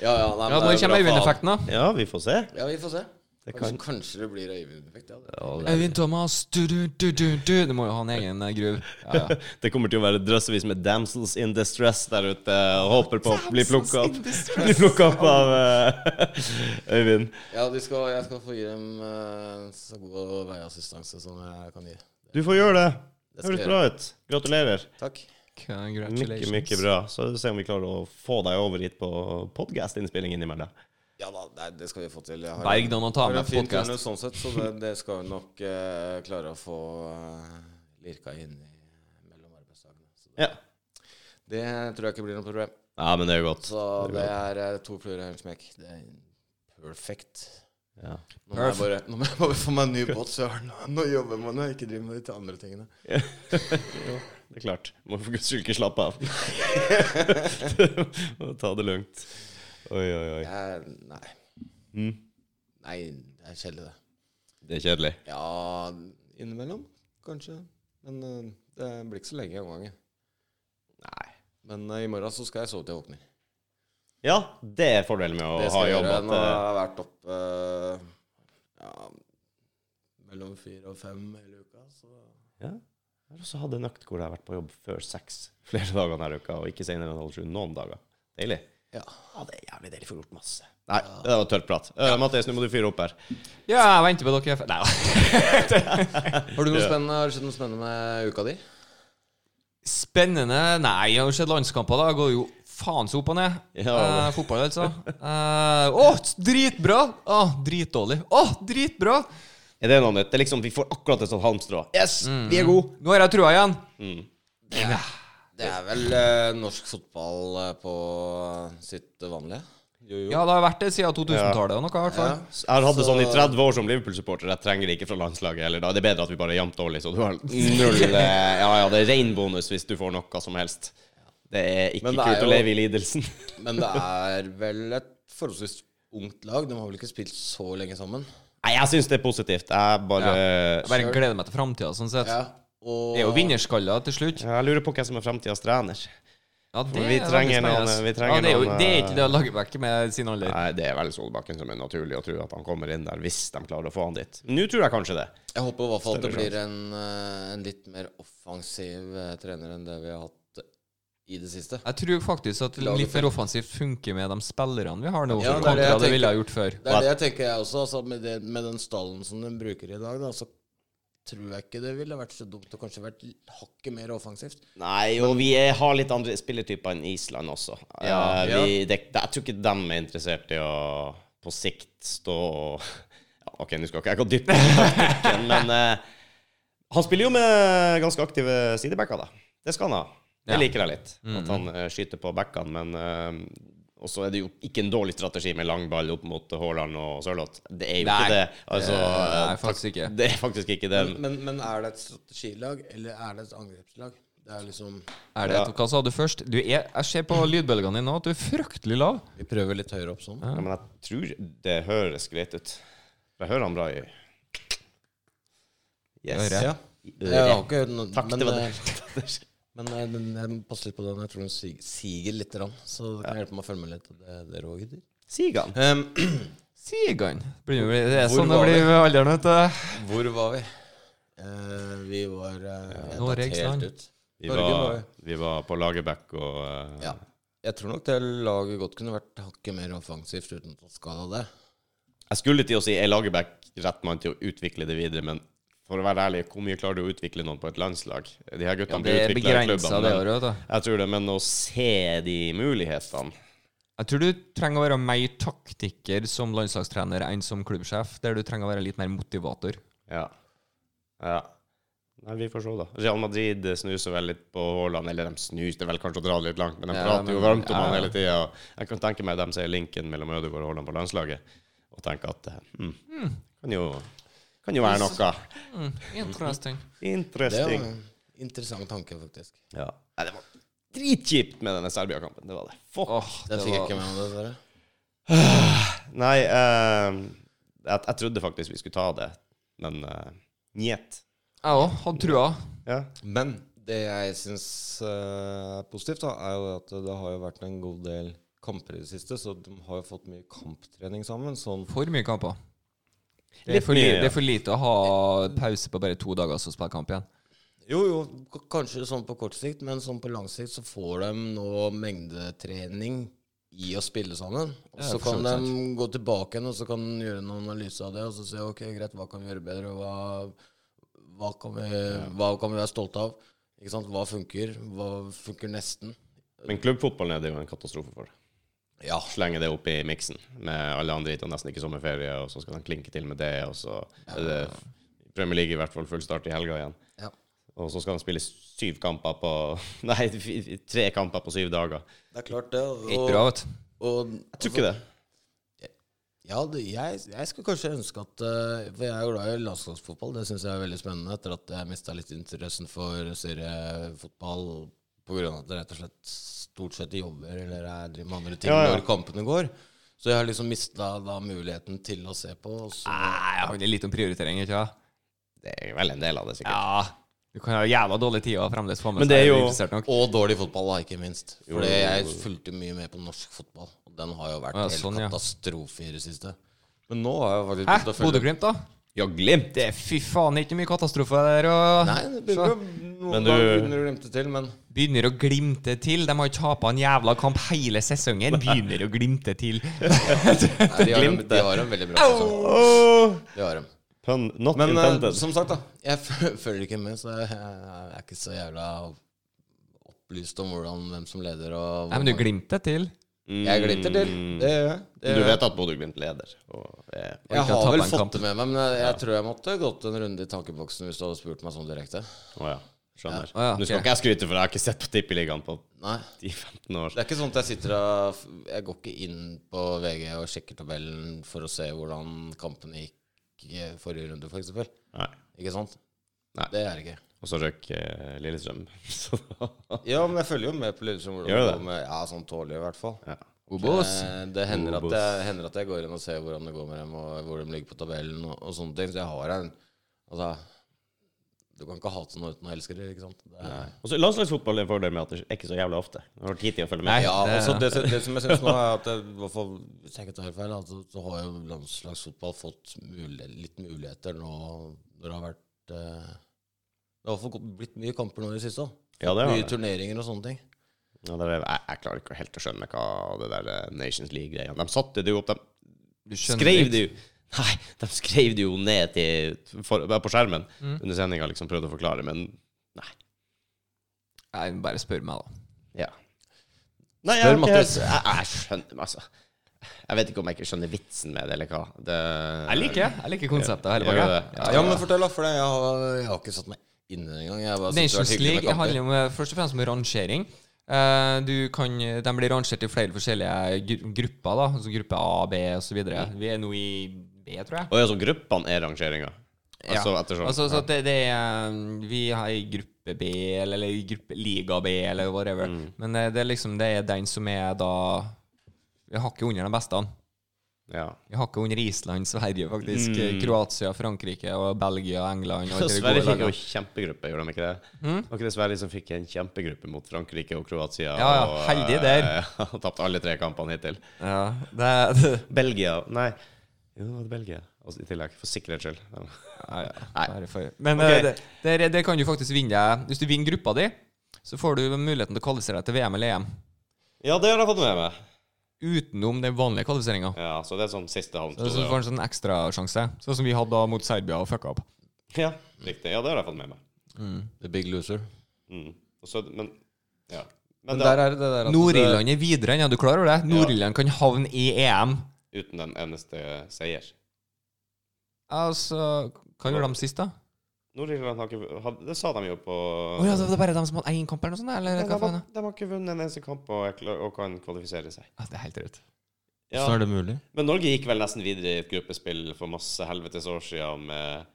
[SPEAKER 3] ja, ja, nei,
[SPEAKER 2] Ja,
[SPEAKER 3] men
[SPEAKER 2] Nå
[SPEAKER 3] det er bra
[SPEAKER 2] kommer
[SPEAKER 3] faen.
[SPEAKER 2] Øyvind-effekten, da.
[SPEAKER 1] Ja, vi får se.
[SPEAKER 3] Ja, vi får se.
[SPEAKER 1] Det
[SPEAKER 3] Kanskje,
[SPEAKER 1] kan.
[SPEAKER 3] kanskje det blir Øyvind-effekt. Ja, det.
[SPEAKER 2] Øyvind Thomas du, du, du, du, du. du må jo ha en egen eh, groove.
[SPEAKER 1] [laughs]
[SPEAKER 2] Ja, ja.
[SPEAKER 1] Det kommer til å være drøssevis med damsels in distress der ute. Og håper på å bli plukka opp, bli plukket opp av eh, [laughs] Øyvind.
[SPEAKER 3] ja de skal, jeg skal få gi dem eh, så god veiassistanse som jeg kan gi.
[SPEAKER 1] Du får gjøre det.
[SPEAKER 3] Det skal
[SPEAKER 1] Høres
[SPEAKER 3] jeg
[SPEAKER 1] bra ut. Gratulerer.
[SPEAKER 3] Takk.
[SPEAKER 1] Mykje,
[SPEAKER 2] Congratulations.
[SPEAKER 1] mykje bra. Så vi får se om vi klarer å få deg over hit på podkast-innspilling innimellom.
[SPEAKER 3] Ja da, nei, det skal vi få til. Jeg har
[SPEAKER 2] Berg noen å ta
[SPEAKER 3] Det er
[SPEAKER 2] med
[SPEAKER 3] en fin
[SPEAKER 2] podcast
[SPEAKER 3] turnus sånn sett, så det, det skal vi nok eh, klare å få eh, lirka inn i mellom arbeidsdagene. Så det,
[SPEAKER 1] Ja.
[SPEAKER 3] det tror jeg ikke blir noe problem.
[SPEAKER 1] ja, men det er jo godt.
[SPEAKER 3] Så det er eh, to fluer i en smekk. Det er perfekt.
[SPEAKER 1] Ja.
[SPEAKER 3] Nå må, jeg bare, nå må jeg bare få meg en ny båt, så jeg har noe- noe å jobbe med når jeg ikke driver med de andre tingene.
[SPEAKER 1] Det er klart. Må for guds skyld ikke slappe [laughs] av. Må ta det lugnt. Oi, oi, oi.
[SPEAKER 3] Jeg, Eh, nei.
[SPEAKER 1] Mm.
[SPEAKER 3] nei, det er kjedelig, det.
[SPEAKER 1] Det er kjedelig.
[SPEAKER 3] Ja, innimellom, kanskje. Men eh, det blir ikke så lenge av gangen.
[SPEAKER 1] Nei.
[SPEAKER 3] Men eh, i morgen så skal jeg sove til jeg våkner.
[SPEAKER 1] Ja, det er fordelen med å
[SPEAKER 3] Det
[SPEAKER 1] ha
[SPEAKER 3] skal jeg
[SPEAKER 1] jobb.
[SPEAKER 3] gjøre
[SPEAKER 1] At,
[SPEAKER 3] når jeg
[SPEAKER 1] eh,
[SPEAKER 3] har vært oppe ja, mellom fire og fem hele uka. Så.
[SPEAKER 1] Ja. Jeg har også hatt en økt hvor jeg har vært på jobb før seks flere dager denne uka, og ikke senere enn halv sju noen dager. Deilig.
[SPEAKER 3] Ja.
[SPEAKER 1] Ja, det er jævlig deilig. Får gjort masse. Nei, det var tørt prat. Eh, Mathias, nå må du fyre opp her.
[SPEAKER 2] Ja, jeg venter på dere. Nei da.
[SPEAKER 3] Har du noe spennende, har det skjedd noe spennende med uka di?
[SPEAKER 2] Spennende Nei, jeg har jo sett landskamper. da Jeg går jo faen så opp og ned.
[SPEAKER 1] Ja.
[SPEAKER 2] Eh, fotball, altså. Eh, Å, dritbra! Å, dritdårlig. Å, dritbra!
[SPEAKER 1] Er det noe nytt? Det er liksom, vi får akkurat et sånt halmstrå. Yes,
[SPEAKER 2] Mm.
[SPEAKER 1] vi er gode!
[SPEAKER 2] Nå har jeg trua igjen.
[SPEAKER 3] Det, det er vel eh, norsk fotball eh, på sitt vanlige. Jo, jo.
[SPEAKER 2] Ja, det har vært det siden 2000-tallet og noe, i hvert fall.
[SPEAKER 1] Jeg har hatt det sånn i 30 år som Liverpool-supporter. Jeg trenger det ikke fra landslaget heller. Da. Det er bedre at vi bare er jevnt dårlig, så du har null eh, [laughs] Ja ja, det er rein bonus hvis du får noe som helst. Det er ikke
[SPEAKER 3] Men det er
[SPEAKER 1] kult å
[SPEAKER 3] jo-
[SPEAKER 1] leve i lidelsen. [laughs]
[SPEAKER 3] Men det er vel et forholdsvis ungt lag. De har vel ikke spilt så lenge sammen.
[SPEAKER 1] Nei, jeg syns det er positivt. Jeg bare
[SPEAKER 2] Jeg bare gleder meg til framtida, sånn sett.
[SPEAKER 3] Og
[SPEAKER 2] Det er jo vinnerskaller til slutt.
[SPEAKER 1] Jeg lurer på hvem som er framtidas trener.
[SPEAKER 2] Ja,
[SPEAKER 1] Vi
[SPEAKER 2] det er veldig
[SPEAKER 1] trenger
[SPEAKER 2] spennende.
[SPEAKER 1] noen- vi trenger
[SPEAKER 2] ja, det, er jo,
[SPEAKER 1] noen, eh,
[SPEAKER 2] det er ikke det å lage vekk med sin alder.
[SPEAKER 1] Nei, det er vel Solbakken som er naturlig å tro at han kommer inn der, hvis de klarer å få han dit. Nå tror jeg kanskje det.
[SPEAKER 3] Jeg håper i hvert fall at det
[SPEAKER 1] Større
[SPEAKER 3] blir en, eh, en litt mer offensiv eh, trener enn det vi har hatt i det siste.
[SPEAKER 2] Jeg tror faktisk at
[SPEAKER 3] Laget
[SPEAKER 2] litt mer offensivt funker med de spillerne vi har
[SPEAKER 3] Ja,
[SPEAKER 2] nå,
[SPEAKER 3] det er det
[SPEAKER 2] kontra det,
[SPEAKER 3] jeg tenker.
[SPEAKER 2] ville ha gjort før.
[SPEAKER 3] Det er det jeg tenker jeg også. Altså med, det, med den stallen som de bruker i dag, da, så tror jeg ikke det ville vært så dumt å kanskje vært hakket mer offensivt.
[SPEAKER 1] Nei, og vi er, har litt andre spillertyper enn Island også.
[SPEAKER 2] Ja.
[SPEAKER 1] Eh, vi, det, det, jeg tror ikke de er interessert i å på sikt stå og ja, OK, nå skal ikke jeg gå dypt inn i
[SPEAKER 2] [laughs]
[SPEAKER 1] taktikken, men eh, han spiller jo med ganske aktive sidebacker, da. Det skal han ha. Det
[SPEAKER 2] Ja. Mhm.
[SPEAKER 1] liker jeg litt. At han eh, skyter på backene, men eh, Og så er det jo ikke en dårlig strategi med lang ball opp mot Haaland og Sørloth. Det er jo
[SPEAKER 2] Nei.
[SPEAKER 1] ikke det. Altså,
[SPEAKER 2] Eh, nei,
[SPEAKER 1] eh, tak-
[SPEAKER 2] faktisk ikke.
[SPEAKER 1] Det er faktisk ikke det.
[SPEAKER 3] Men, men er det et strategilag, eller er det et angrepslag? Det er liksom
[SPEAKER 2] Er det, Hva sa du først? Du er, jeg ser på lydbølgene dine nå at du er fryktelig lav.
[SPEAKER 3] Vi prøver litt høyere opp sånn.
[SPEAKER 1] Ja, men jeg tror det høres greit ut. Jeg hører han bra i Yes.
[SPEAKER 2] Øret.
[SPEAKER 3] Ja.
[SPEAKER 1] Øret.
[SPEAKER 3] Jeg har ikke hørt noe
[SPEAKER 1] Takk,
[SPEAKER 3] men,
[SPEAKER 1] det var det.
[SPEAKER 3] eh, [laughs] Men eh, den, jeg må passe litt på den. Jeg tror den sig- siger litt. Rann, så det kan hjelpe meg å følge med litt. Det, det er også, gutter.
[SPEAKER 1] Sigan.
[SPEAKER 2] Sigan. Blir- blir- Det er
[SPEAKER 3] Hvor
[SPEAKER 2] sånn det
[SPEAKER 3] var
[SPEAKER 2] blir ved alderen, vet du.
[SPEAKER 3] hvor var vi? Eh, vi var uh,
[SPEAKER 2] Norges land.
[SPEAKER 3] ut.
[SPEAKER 1] Vi
[SPEAKER 3] Norge
[SPEAKER 1] var,
[SPEAKER 3] var-
[SPEAKER 1] vi var på Lagerbäck og eh,
[SPEAKER 3] Ja. Jeg tror nok det laget godt kunne vært hakket mer offensivt uten å skade det.
[SPEAKER 1] Jeg skulle til å si er Lagerbäck rett mann til å utvikle det videre, men for å være ærlig, hvor mye klarer du å utvikle noen på et landslag? De her guttene
[SPEAKER 2] Det
[SPEAKER 1] blir
[SPEAKER 2] er
[SPEAKER 1] utvikla i
[SPEAKER 2] begrensa, det
[SPEAKER 1] klubbene. men-
[SPEAKER 2] året, vet du.
[SPEAKER 1] Jeg tror det, men å se de mulighetene
[SPEAKER 2] Jeg tror du trenger å være mer taktiker som landslagstrener enn som klubbsjef, der du trenger å være litt mer motivator.
[SPEAKER 1] Ja. ja. Nei, vi får se, da. Real Madrid snuser vel litt på Haaland. Eller de snuser vel kanskje å dra det litt langt, men de
[SPEAKER 2] Ja,
[SPEAKER 1] prater jo
[SPEAKER 2] men-
[SPEAKER 1] varmt om
[SPEAKER 2] ja,
[SPEAKER 1] han
[SPEAKER 2] ja.
[SPEAKER 1] hele tida. Jeg kan tenke meg at de ser linken mellom Ødegaard og Haaland på landslaget, og tenker at eh, hm, kan jo kan jo være noe
[SPEAKER 2] Mm, interesting.
[SPEAKER 3] Det er jo
[SPEAKER 1] interesting.
[SPEAKER 3] en interessant tanke, faktisk.
[SPEAKER 1] Ja. Nei, det var dritkjipt med denne Serbia-kampen. Det var det. Fuck.
[SPEAKER 2] Åh,
[SPEAKER 3] Den
[SPEAKER 2] det
[SPEAKER 3] fikk jeg
[SPEAKER 2] var
[SPEAKER 3] ikke med meg, dessverre.
[SPEAKER 1] Nei, eh, jeg, jeg trodde faktisk vi skulle ta det, men uh, njet.
[SPEAKER 2] Jeg òg hadde trua.
[SPEAKER 1] Ja.
[SPEAKER 3] Men det jeg syns er positivt, da, er jo at det har jo vært en god del kamper i det siste, så de har jo fått mye kamptrening sammen. Sånn
[SPEAKER 2] For mye kamper. Det
[SPEAKER 1] Litt
[SPEAKER 2] er for,
[SPEAKER 1] mye,
[SPEAKER 2] li
[SPEAKER 1] ja.
[SPEAKER 2] det er for lite å ha pause på bare to dager, så spille kamp igjen.
[SPEAKER 3] Jo, jo, k- kanskje sånn på kort sikt, men sånn på lang sikt så får de nå mengdetrening i å spille sammen. Og
[SPEAKER 2] Ja,
[SPEAKER 3] så
[SPEAKER 2] for så
[SPEAKER 3] kan
[SPEAKER 2] vidt
[SPEAKER 3] de
[SPEAKER 2] sant.
[SPEAKER 3] gå tilbake igjen, og så kan de gjøre en analyse av det, og så se ok, greit, hva kan vi gjøre bedre, og hva, hva, kan, vi, hva kan vi være stolte av? Ikke sant? Hva funker? Hva funker nesten?
[SPEAKER 1] Men klubbfotballen er det jo en katastrofe for.
[SPEAKER 3] Ja.
[SPEAKER 1] slenge det opp i miksen med alle andre hit og nesten ikke sommerferie, og så skal de klinke til med det, og så er det Premier League i hvert fall full start i helga igjen.
[SPEAKER 3] Ja.
[SPEAKER 1] Og så skal de spille syv kamper på [laughs] Nei, f- tre kamper på syv dager.
[SPEAKER 3] Det er klart, det. Og,
[SPEAKER 2] Ikke bra, vet du.
[SPEAKER 3] og,
[SPEAKER 1] Jeg tror ikke det.
[SPEAKER 3] Ja, det, jeg, jeg skulle kanskje ønske at eh, For jeg er jo glad i landslagsfotball. Det syns jeg er veldig spennende, etter at jeg mista litt interessen for seriefotball pga. at jeg rett og slett stort sett jobber eller jeg driver med andre ting
[SPEAKER 1] Ja, ja.
[SPEAKER 3] når kampene går. Så jeg har liksom mista da muligheten til å se på. Og så,
[SPEAKER 2] Nei, det handler litt om prioritering, ikke sant?
[SPEAKER 1] Det er vel en del av det, sikkert.
[SPEAKER 2] Ja. Du kan ha jævla dårlig tid og fremdeles få med
[SPEAKER 1] Men det
[SPEAKER 2] seg
[SPEAKER 1] er jo-
[SPEAKER 2] interessert nok.
[SPEAKER 3] og dårlig fotball, da, ikke minst.
[SPEAKER 1] Jo,
[SPEAKER 3] Fordi
[SPEAKER 1] jo,
[SPEAKER 3] jeg
[SPEAKER 1] jo.
[SPEAKER 3] fulgte mye med på norsk fotball. Og den har jo vært
[SPEAKER 2] Ja,
[SPEAKER 3] helt
[SPEAKER 2] sånn, ja.
[SPEAKER 3] katastrofe i det siste. Men nå har jeg faktisk
[SPEAKER 2] Hæ?
[SPEAKER 3] begynt å følge
[SPEAKER 2] Bodø-Glimt, da?
[SPEAKER 1] Ja, Glimt!
[SPEAKER 2] Det er fy faen ikke mye katastrofe der. Og
[SPEAKER 3] Nei, det begynner jo
[SPEAKER 1] Men
[SPEAKER 3] noen
[SPEAKER 1] du-
[SPEAKER 3] ganger begynner å glimte til, men
[SPEAKER 2] Begynner å glimte til. De har tapa en jævla kamp hele sesongen. Begynner å glimte til.
[SPEAKER 3] Nei, de, har en,
[SPEAKER 1] Glimt,
[SPEAKER 3] de
[SPEAKER 1] det.
[SPEAKER 3] har en veldig bra sesong.
[SPEAKER 1] Åh!
[SPEAKER 3] De har dem.
[SPEAKER 1] Pun not
[SPEAKER 3] Men eh,
[SPEAKER 1] intended.
[SPEAKER 3] [laughs] som sagt, da. Jeg f- følger ikke med, så jeg, jeg er ikke så jævla opplyst om hvordan, hvem som leder og
[SPEAKER 2] Nei, men du glimter til.
[SPEAKER 3] Jeg glimter til. Det gjør jeg.
[SPEAKER 1] Mm. Du
[SPEAKER 3] Det gjør jeg.
[SPEAKER 1] vet at Bodø-Glimt leder. Og er
[SPEAKER 2] ikke
[SPEAKER 3] Jeg
[SPEAKER 2] har
[SPEAKER 3] har
[SPEAKER 2] tapt
[SPEAKER 3] vel
[SPEAKER 2] en kamp.
[SPEAKER 3] fått det med meg, men jeg, jeg tror jeg måtte gått en runde i tankeboksen hvis du hadde spurt meg sånn direkte.
[SPEAKER 1] Å ja. Skjønner.
[SPEAKER 2] Ja. Å ja,
[SPEAKER 1] Nå skal
[SPEAKER 2] ok.
[SPEAKER 1] ikke jeg skryte, for jeg har ikke sett på Tippeligaen på
[SPEAKER 3] Nei.
[SPEAKER 1] 10-15 år.
[SPEAKER 3] Det er ikke sånn at jeg sitter og Jeg går ikke inn på VG og sjekker tabellen for å se hvordan kampene gikk i forrige runde, f.eks. eksempel
[SPEAKER 1] Nei.
[SPEAKER 3] Ikke sant?
[SPEAKER 1] Nei.
[SPEAKER 3] Det er det ikke.
[SPEAKER 1] Og så røk eh, Lillestrøm. [laughs] Så da
[SPEAKER 3] Ja, men jeg følger jo med på Lillestrøm. hvordan
[SPEAKER 1] Gjør du
[SPEAKER 3] det
[SPEAKER 1] det?
[SPEAKER 3] går med- Ja, sånn tålelig, i hvert fall.
[SPEAKER 1] ja.
[SPEAKER 2] Obos.
[SPEAKER 3] Eh, Det hender at,
[SPEAKER 1] Obos.
[SPEAKER 3] jeg, hender at jeg går inn og ser hvordan det går med dem, og hvor de ligger på tabellen og, og sånne ting. Så jeg har en Altså, du kan ikke hate noe uten å elske det, ikke sant? Det er,
[SPEAKER 1] Og så Landslagsfotball er en fordel med at det er ikke så jævlig ofte. Du har tid til å følge med.
[SPEAKER 2] Nei.
[SPEAKER 3] Ja,
[SPEAKER 2] det-
[SPEAKER 3] altså det, det som jeg syns nå, er at det, i hvert fall, hvis jeg ikke tar helt feil, altså, så har jo landslagsfotball fått mule, litt muligheter nå når det har vært eh, Det har i hvert fall gått- blitt mye kamper nå i det siste. da.
[SPEAKER 1] Ja, det har
[SPEAKER 3] Mye
[SPEAKER 1] det.
[SPEAKER 3] turneringer og sånne ting.
[SPEAKER 1] Ja, det er, jeg, jeg klarer ikke helt å skjønne hva det der eh, Nations League-greia De satte det jo opp, de
[SPEAKER 2] Du
[SPEAKER 1] skrev
[SPEAKER 2] litt.
[SPEAKER 1] det jo Nei, de skrev det jo ned til for, på skjermen
[SPEAKER 2] Mm.
[SPEAKER 1] under sendinga, liksom prøvde å forklare, men nei.
[SPEAKER 2] Nei, men bare spør meg, da.
[SPEAKER 1] Ja. Nei, jeg,
[SPEAKER 3] Spør
[SPEAKER 1] jeg,
[SPEAKER 3] Mattis.
[SPEAKER 1] jeg, jeg skjønner altså. Jeg vet ikke om jeg ikke skjønner vitsen med det, eller hva. Det,
[SPEAKER 2] Jeg liker, jeg liker konseptet. og hele
[SPEAKER 1] Gjør
[SPEAKER 2] pakka.
[SPEAKER 1] det.
[SPEAKER 2] Ja,
[SPEAKER 3] Ja, men fortell, da, for det, jeg, har, jeg har ikke satt meg inn i det engang. Jeg har bare syntes det har
[SPEAKER 2] Nations
[SPEAKER 3] vært hyggelig med
[SPEAKER 2] League
[SPEAKER 3] kamper.
[SPEAKER 2] handler om, eh, først og fremst om rangering. Eh, Du kan, de blir rangert i flere forskjellige gru- grupper. da Altså Gruppe A, B osv. Vi er nå i B, tror jeg.
[SPEAKER 1] Og ja, så gruppene er rangeringa? Altså
[SPEAKER 2] Ja.
[SPEAKER 1] etter sånn?
[SPEAKER 2] Altså, så at det, det er, um, vi har i gruppe B, eller, eller i gruppe liga B, eller whatever. Men eh, det er liksom det er den som er da Vi hakker under de beste.
[SPEAKER 1] ja.
[SPEAKER 2] Vi hakker under Island, Sverige, faktisk. Kroatia, Frankrike, og Belgia, England. Og
[SPEAKER 1] Så
[SPEAKER 2] [laughs] alle de
[SPEAKER 1] Sverige
[SPEAKER 2] gode
[SPEAKER 1] fikk jo
[SPEAKER 2] lagene.
[SPEAKER 1] kjempegruppe, gjorde de ikke det?
[SPEAKER 2] Hm?
[SPEAKER 1] Var ikke det Sverige som fikk en kjempegruppe mot Frankrike og Kroatia?
[SPEAKER 2] Ja, ja,
[SPEAKER 1] og,
[SPEAKER 2] heldig der.
[SPEAKER 1] eh, [laughs] og Tapt alle tre kampene hittil.
[SPEAKER 2] ja, [laughs] det,
[SPEAKER 1] Belgia Nei, jo, det var Belgia altså, i tillegg. For sikkerhets skyld.
[SPEAKER 2] Ja, ja.
[SPEAKER 1] Nei.
[SPEAKER 2] Bare for- Men
[SPEAKER 1] Ok.
[SPEAKER 2] eh, det, der, der kan du faktisk vinne deg Hvis du vinner gruppa di, så får du muligheten til å kvalifisere deg til VM eller EM.
[SPEAKER 1] Ja, det har jeg fått med meg.
[SPEAKER 2] Utenom den vanlige kvalifiseringa.
[SPEAKER 1] Ja, Så det er sånn siste
[SPEAKER 2] Så så
[SPEAKER 1] halmstrå.
[SPEAKER 2] får du en sånn ekstrasjanse, sånn som vi hadde da mot Serbia og fucka opp.
[SPEAKER 1] Ja, riktig. Ja, det har jeg fått med meg.
[SPEAKER 3] The Big Loser.
[SPEAKER 1] Mm. Og så, men ja. Men
[SPEAKER 3] Men
[SPEAKER 1] da,
[SPEAKER 3] der er det det der at
[SPEAKER 2] Nord-Irland er videre enn ja, du klarer over det. Nord-Irland kan havne i EM.
[SPEAKER 1] uten den eneste seier.
[SPEAKER 2] Altså Hva gjorde de sist, da?
[SPEAKER 1] Nord-Irland har ikke hadde- Det sa de jo på
[SPEAKER 2] Å ja, det var bare de som hadde én kamp eller noe sånt? Eller
[SPEAKER 1] Nei,
[SPEAKER 2] hva
[SPEAKER 1] de,
[SPEAKER 2] faen?
[SPEAKER 1] har, de har ikke vunnet en eneste kamp og, er klar- og kan kvalifisere seg.
[SPEAKER 2] Ja, det er helt rødt.
[SPEAKER 1] Ja.
[SPEAKER 3] det mulig?
[SPEAKER 1] Men Norge gikk vel nesten videre i et gruppespill for masse helvetes år siden med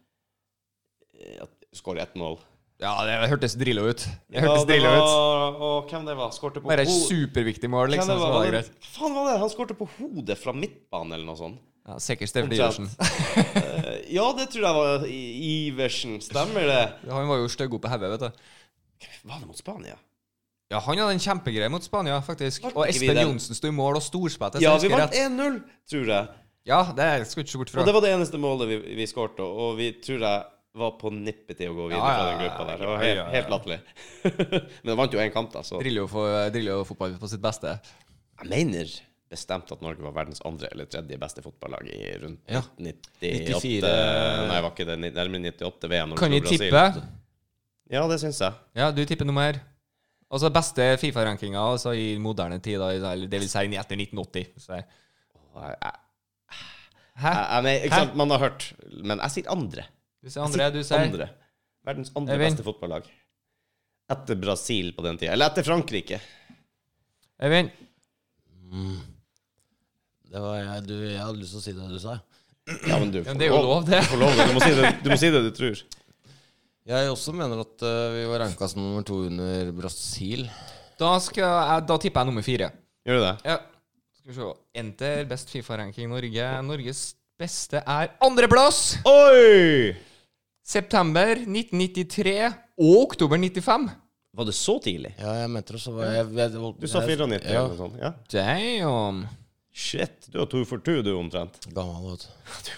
[SPEAKER 1] eh, at Skåret ett mål.
[SPEAKER 2] Ja, det hørtes drilla ut. Det
[SPEAKER 1] Ja,
[SPEAKER 2] hørtes
[SPEAKER 1] det
[SPEAKER 2] drilla ut.
[SPEAKER 1] var, og hvem det var? Skårte på
[SPEAKER 2] Bare et
[SPEAKER 1] hodet
[SPEAKER 2] superviktig mål, liksom.
[SPEAKER 1] Hvem
[SPEAKER 2] Så var det greit.
[SPEAKER 1] Faen var det? Han skårte på hodet fra midtbanen eller noe sånt.
[SPEAKER 2] Ja, Sikkert Steffen
[SPEAKER 1] Omtrent.
[SPEAKER 2] Iversen.
[SPEAKER 1] Eh, ja, det tror jeg var I- Iversen. Stemmer det?
[SPEAKER 2] Han var jo stygg opp på hodet, vet du.
[SPEAKER 1] Var det mot Spania?
[SPEAKER 2] Ja, han hadde en kjempegreie mot Spania, faktisk.
[SPEAKER 1] Vant
[SPEAKER 2] Og
[SPEAKER 1] ikke vi
[SPEAKER 2] Espen
[SPEAKER 1] den?
[SPEAKER 2] Johnsen sto i mål og storspilte.
[SPEAKER 1] Ja, vi vant 1-0, tror jeg.
[SPEAKER 2] Ja, det skal du ikke se bort fra.
[SPEAKER 1] Og det var det eneste målet vi, vi skårte, og vi tror jeg var på nippet til å gå videre
[SPEAKER 2] Ja, ja,
[SPEAKER 1] fra den gruppa der. Det var
[SPEAKER 2] ja,
[SPEAKER 1] helt,
[SPEAKER 2] ja, ja.
[SPEAKER 1] helt latterlig. [laughs] Men jeg vant jo én kamp, da, så
[SPEAKER 2] Driller jo for- driller jo fotball på sitt beste.
[SPEAKER 1] jeg mener bestemt at Norge var verdens andre eller tredje beste fotballag i rundt
[SPEAKER 3] Ja.
[SPEAKER 1] 98
[SPEAKER 3] 94.
[SPEAKER 1] Nei, var ikke det ni- nærmere 98 VM? når vi
[SPEAKER 2] Kan vi
[SPEAKER 1] slo Brasil.
[SPEAKER 2] tippe?
[SPEAKER 1] Ja, det syns jeg.
[SPEAKER 2] Ja, du tipper nummer. Altså beste Fifa-rankinga altså i moderne tid, da, eller det vil si etter 1980. Så. jeg-
[SPEAKER 1] Jeg, jeg,
[SPEAKER 2] Hæ?
[SPEAKER 1] jeg, jeg, mener, ikke sant, man har hørt, men jeg sier andre.
[SPEAKER 2] Du sier andre, du sier
[SPEAKER 1] andre. Verdens andre
[SPEAKER 2] Eivind.
[SPEAKER 1] beste fotballag. Etter Brasil på den tida. Eller etter Frankrike.
[SPEAKER 2] Eivind.
[SPEAKER 3] Mm. Det var jeg, du, jeg hadde lyst til å si det du sa.
[SPEAKER 1] Ja, men du
[SPEAKER 2] Ja, men det er jo lov, det.
[SPEAKER 1] Du, får lov, det. du, må, si det, du må si det du tror.
[SPEAKER 3] Jeg også mener at eh, vi var ranka som nummer to under Brasil.
[SPEAKER 2] Da, skal jeg, da tipper jeg nummer fire.
[SPEAKER 1] Gjør du det?
[SPEAKER 2] Ja. Skal vi se. Enter best Fifa-ranking Norge. Norges beste er andreplass!
[SPEAKER 1] Oi!
[SPEAKER 2] September 1993 og oktober 95.
[SPEAKER 1] Var det så tidlig?
[SPEAKER 3] Ja, jeg mente det, så var jeg, jeg, jeg
[SPEAKER 1] Du sa 94
[SPEAKER 3] Ja,
[SPEAKER 1] eller noe sånt? Ja.
[SPEAKER 2] Damn.
[SPEAKER 1] Shit, du har to for to, du, omtrent.
[SPEAKER 3] gammel, vet du.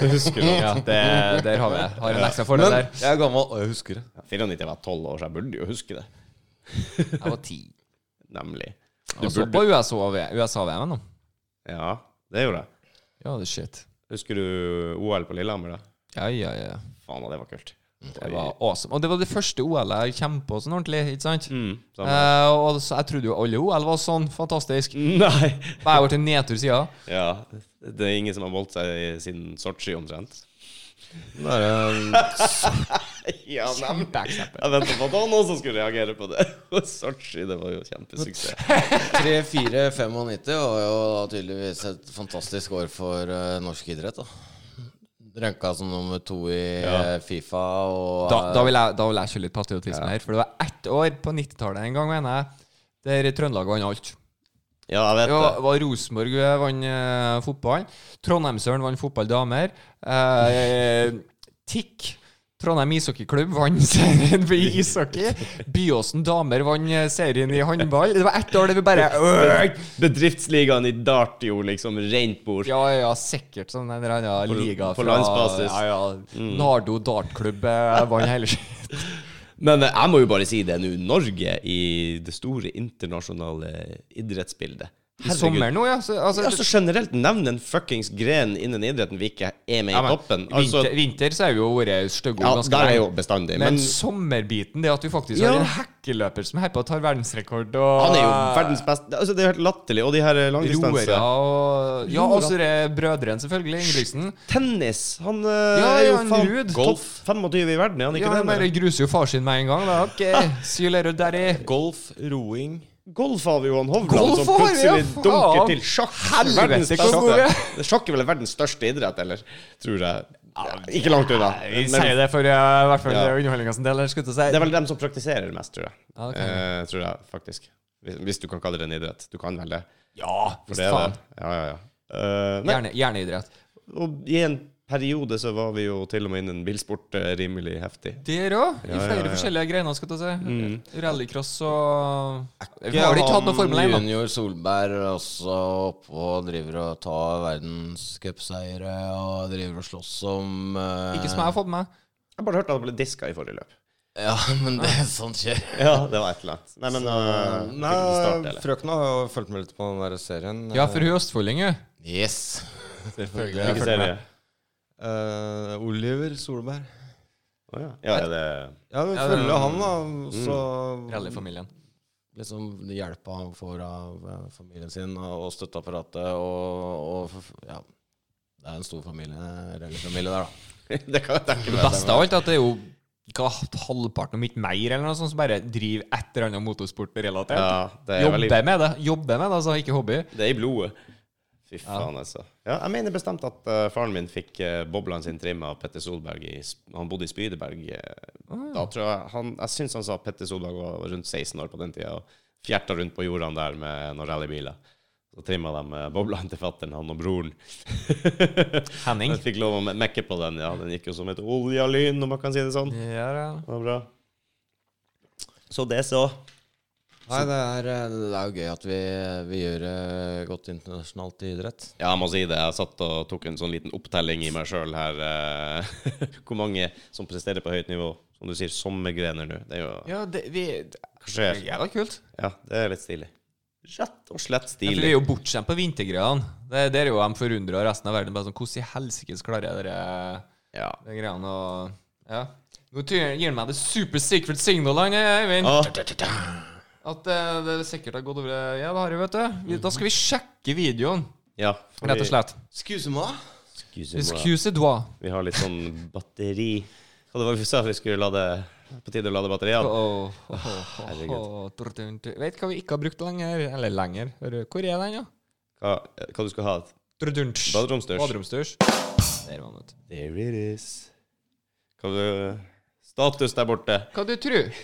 [SPEAKER 1] Du husker det.
[SPEAKER 2] Ja, det, der har vi Har en ekstra fordel der.
[SPEAKER 3] Jeg er gammel, og jeg husker det.
[SPEAKER 1] 94 var 12 år, så jeg burde jo huske det.
[SPEAKER 2] Jeg var ti.
[SPEAKER 1] Nemlig. Du
[SPEAKER 2] Og så på USA-VM, da.
[SPEAKER 1] Ja, det gjorde jeg.
[SPEAKER 2] Ja, det er shit.
[SPEAKER 1] Husker du OL på Lillehammer, da?
[SPEAKER 2] Ja, ja, ja.
[SPEAKER 1] Faen, det var kult.
[SPEAKER 2] Det var awesome. Og det var det første OL jeg kjempet på sånn ordentlig. ikke sant?
[SPEAKER 1] Mm, samme.
[SPEAKER 2] [laughs] Eh, og så, jeg trodde jo alle OL var sånn fantastisk.
[SPEAKER 1] Nei!
[SPEAKER 2] Bare jeg ble en nedtur siden.
[SPEAKER 1] Ja. Det er ingen som har holdt seg i- siden Sotsji, omtrent.
[SPEAKER 3] Det [laughs] er,
[SPEAKER 1] Ja,
[SPEAKER 2] Kjempeeksempel.
[SPEAKER 1] Jeg venta på at det var noen som skulle reagere på det. [laughs] Og Sotsji, det var jo kjempesuksess.
[SPEAKER 3] 3-4-95 var jo da tydeligvis et fantastisk år for eh, norsk idrett. da Rønka som nummer to i eh, Fifa. Og, eh,
[SPEAKER 2] Da, da, vil jeg, da vil jeg kjøre litt patriotisme her. For det var ett år på 90-tallet en gang, mener jeg, der Trøndelag vant alt.
[SPEAKER 1] Ja, jeg
[SPEAKER 2] Det
[SPEAKER 1] vet det.
[SPEAKER 2] var, var Rosenborg eh, vant eh, fotball. Trondheimsøren vant fotball damer. Eh, TIK, Trondheim ishockeyklubb, vant serien i ishockey. Byåsen damer vant eh, serien i håndball. Det var ett år der vi bare
[SPEAKER 1] [laughs]
[SPEAKER 2] øh,
[SPEAKER 1] Bedriftsligaen i dart jo liksom rent bord.
[SPEAKER 2] Ja, ja, sikkert sånn en eller annen
[SPEAKER 1] På-
[SPEAKER 2] liga
[SPEAKER 1] på landsbasis. Mm.
[SPEAKER 2] Ja, ja. Nardo dartklubb eh, vant hele skiten.
[SPEAKER 1] Men eh, jeg må jo bare si det nå. Norge i det store internasjonale idrettsbildet.
[SPEAKER 2] I sommer nå, ja. Så, altså,
[SPEAKER 1] Altså generelt, nevn en fuckings gren innen idretten vi ikke er med
[SPEAKER 2] Ja,
[SPEAKER 1] i
[SPEAKER 2] men
[SPEAKER 1] toppen. Altså,
[SPEAKER 2] vinter, vinter så har vi jo vært stygge
[SPEAKER 1] ja,
[SPEAKER 2] og ganske
[SPEAKER 1] der er
[SPEAKER 2] lenge.
[SPEAKER 1] jo bestandig. Men
[SPEAKER 2] Men, sommerbiten, det at du faktisk
[SPEAKER 1] Ja.
[SPEAKER 2] har en hekkeløper som er her på og tar verdensrekord og
[SPEAKER 1] han er jo verdens beste Altså, det er helt latterlig. Og de her eh,
[SPEAKER 2] Roere
[SPEAKER 1] langdistanse
[SPEAKER 2] og Ja,
[SPEAKER 1] Roere.
[SPEAKER 2] også det brødrene, selvfølgelig. Ingebrigtsen.
[SPEAKER 1] Tennis! Han eh,
[SPEAKER 2] Ja,
[SPEAKER 1] er jo
[SPEAKER 2] ja, han
[SPEAKER 1] faen
[SPEAKER 2] Ruud.
[SPEAKER 1] topp 25 i verden, er han ikke
[SPEAKER 2] Ja,
[SPEAKER 1] det?
[SPEAKER 2] han bare
[SPEAKER 1] men-
[SPEAKER 2] gruser jo far sin med en gang. Da. Ok, see you later, daddy.
[SPEAKER 3] golf, roing
[SPEAKER 1] Golf har vi Johan Hovland,
[SPEAKER 2] Golf
[SPEAKER 1] som
[SPEAKER 2] har vi, ja,
[SPEAKER 1] plutselig
[SPEAKER 2] faen.
[SPEAKER 1] dunker til sjakk.
[SPEAKER 2] Helvete,
[SPEAKER 1] Verdens
[SPEAKER 2] hvor gode vi
[SPEAKER 1] beste. Sjakk er vel verdens største idrett, eller? Tror jeg. Ikke langt unna.
[SPEAKER 2] Vi
[SPEAKER 1] Men
[SPEAKER 2] sier det for eh, i hvert fall
[SPEAKER 1] Ja.
[SPEAKER 2] underholdninga sin del. eller skulle jeg til å si.
[SPEAKER 1] det er vel dem som praktiserer mest, tror jeg.
[SPEAKER 2] Ja, det kan
[SPEAKER 1] eh, tror jeg, faktisk. Hvis, hvis du kan kalle det en idrett. Du kan vel det.
[SPEAKER 2] Ja,
[SPEAKER 1] For
[SPEAKER 2] visst
[SPEAKER 1] det er
[SPEAKER 2] faen.
[SPEAKER 1] det. Ja, ja, ja. Eh, nei,
[SPEAKER 2] Hjerne, Hjerneidrett.
[SPEAKER 1] og i en periode så var vi jo til og med innen bilsport eh, rimelig heftig.
[SPEAKER 2] Der òg, i
[SPEAKER 1] Ja, ja,
[SPEAKER 2] flere
[SPEAKER 1] ja. Mm.
[SPEAKER 2] forskjellige greiner, skal du si. Rallycross og Vi
[SPEAKER 3] Ja,
[SPEAKER 2] har ikke hatt
[SPEAKER 3] han
[SPEAKER 2] noe Formel 1, da.
[SPEAKER 3] Junior Solberg er også oppe og driver og tar verdenscupseiere og driver og slåss om eh,
[SPEAKER 2] Ikke som jeg har fått med meg.
[SPEAKER 1] Jeg bare hørte at han ble diska i forrige løp.
[SPEAKER 3] Ja, men det er sånn skjer.
[SPEAKER 1] [laughs] Ja, det var et eller annet. Nei, men eh,
[SPEAKER 4] Nei,
[SPEAKER 1] fikk du starte, eller?
[SPEAKER 4] frøkna har jo fulgt med litt på den der serien.
[SPEAKER 2] Ja, for hun er østfolding, jo.
[SPEAKER 3] Yes.
[SPEAKER 4] Selvfølgelig.
[SPEAKER 1] Hvilken serie?
[SPEAKER 4] Eh, Oliver Solberg.
[SPEAKER 1] Å ja. ja, er det [laughs]
[SPEAKER 4] Ja, vi
[SPEAKER 2] Ja,
[SPEAKER 4] følger
[SPEAKER 2] den-
[SPEAKER 4] han, da. Så
[SPEAKER 2] Rallyfamilien.
[SPEAKER 3] Mm. Liksom hjelpa han får av eh, familien sin og og støtteapparatet og, og Ja. Det er en stor familie, rallyfamilie der, da.
[SPEAKER 1] Det kan jeg tenke
[SPEAKER 2] Det
[SPEAKER 1] meg.
[SPEAKER 2] beste av alt er at det er jo hva, halvparten, om ikke mer, eller noe sånt, som bare driver et eller annet motorsportrelatert.
[SPEAKER 1] Ja, det er
[SPEAKER 2] Jobber
[SPEAKER 1] veldig
[SPEAKER 2] med det. Jobber med det, altså. Ikke hobby.
[SPEAKER 1] Det er i blodet. Fy faen, altså. Ja, jeg mener bestemt at eh, faren min fikk uh, boblene sine trimma av Petter Solberg. I, Sp- han bodde i Spydeberg. eh, Da tror Jeg han, jeg syns han sa at Petter Solberg var rundt 16 år på den tida og fjerta rundt på jordene der med noen rallybiler. Så trimma de eh, boblene til fattern, han og broren.
[SPEAKER 2] Henning.
[SPEAKER 1] Jeg fikk lov å me- mekke på den. Ja, den gikk jo som et oljelyn, om man kan si det sånn.
[SPEAKER 2] Ja, ja.
[SPEAKER 1] Det var bra. Så det så.
[SPEAKER 3] Nei, det er, eh, det er jo gøy at vi, vi gjør det godt internasjonalt i idrett.
[SPEAKER 1] Ja, jeg må si det. Jeg satt og tok en sånn liten opptelling i meg sjøl her. eh, [laughs] Hvor mange som presterer på høyt nivå. Som du sier, sommergrener nå. Det er jo
[SPEAKER 2] ja det, vi,
[SPEAKER 1] Hva skjer?
[SPEAKER 2] Jævla kult.
[SPEAKER 1] Ja, det er litt stilig. Rett og slett
[SPEAKER 2] Ja, for vi
[SPEAKER 1] stilig.
[SPEAKER 2] er jo bortskjemt på vintergreiene. Det, det er jo de forundra resten av verden. Bare sånn, Hvordan i helsikes klarer dere
[SPEAKER 1] Ja.
[SPEAKER 2] de greiene å Ja. Nå ty- gir han meg det super secret signal, han Eivind.
[SPEAKER 1] Ah,
[SPEAKER 2] At eh, det sikkert har gått over Ja, det har det, vet du. Vi, da skal vi sjekke videoen,
[SPEAKER 1] ja for
[SPEAKER 2] rett og slett.
[SPEAKER 3] Excuse me?
[SPEAKER 1] Vi, excuse me,
[SPEAKER 2] Excuse moi.
[SPEAKER 1] vi har litt sånn batteri Hva det var vi sa vi skulle lade På tide å lade batteriene?
[SPEAKER 2] Oh, oh, oh, oh, oh, tur, tur, tur. Vet hva vi ikke har brukt lenger? Eller lenger? Hører du, Hvor er den, ja?
[SPEAKER 1] Hva, hva du skal ha?
[SPEAKER 2] Baderomsdusj.
[SPEAKER 1] Baderomsdusj?
[SPEAKER 2] Der var den, vet du.
[SPEAKER 1] There it is. Hva du Status der borte.
[SPEAKER 2] Hva du tror du?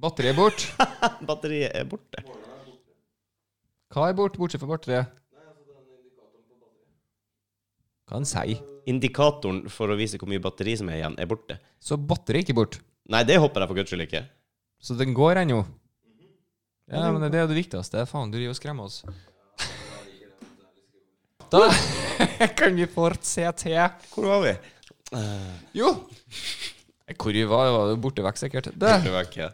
[SPEAKER 2] Batteriet er bort.
[SPEAKER 1] Batteriet er borte.
[SPEAKER 2] Hva er bort, bortsett fra batteriet? Hva han sier?
[SPEAKER 1] Indikatoren for å vise hvor mye batteri som er igjen, er borte.
[SPEAKER 2] Så batteriet er ikke bort.
[SPEAKER 1] Nei, det håper jeg for guds skyld ikke.
[SPEAKER 2] Så den går ennå. Ja, men det er jo det viktigste. Faen, du driver og skremmer oss. [laughs] Da [laughs] kan vi fort se til
[SPEAKER 1] Hvor var vi?
[SPEAKER 2] Jo! Hvor vi var, var jo borte vekk, sikkert. Det.
[SPEAKER 1] Det, var ikke.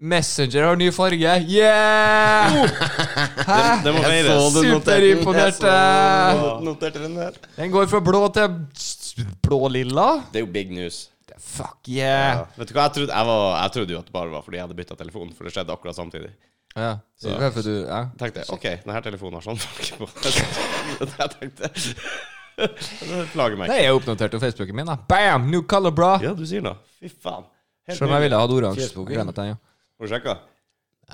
[SPEAKER 2] Messenger har ny farge. [laughs] Yeah! Hæ?
[SPEAKER 1] det må feires.
[SPEAKER 2] Superimponert.
[SPEAKER 1] Noterte den der.
[SPEAKER 2] Den går fra blå til s- blå-lilla.
[SPEAKER 1] Det er jo big news.
[SPEAKER 2] Fuck yeah!
[SPEAKER 1] Vet du hva, jeg trodde, jeg, var, jeg trodde jo at det bare var fordi jeg hadde bytta telefon, for det skjedde akkurat samtidig.
[SPEAKER 2] Ja.
[SPEAKER 1] Så-
[SPEAKER 2] Det er for du, ja.
[SPEAKER 1] Jeg tenkte OK, denne telefonen har sånn farge på. [laughs] Jeg tenkte [laughs] Det plager meg.
[SPEAKER 2] Nei, jeg er oppnotert på Facebooken min. da Bam! New color, bra!
[SPEAKER 1] Ja, du sier noe. Fy faen. Helt
[SPEAKER 2] Selv om jeg
[SPEAKER 1] nydelig.
[SPEAKER 2] ville hatt oransje.
[SPEAKER 3] Facebooken.
[SPEAKER 2] Glem at jeg- ja.
[SPEAKER 1] Har du sjekka?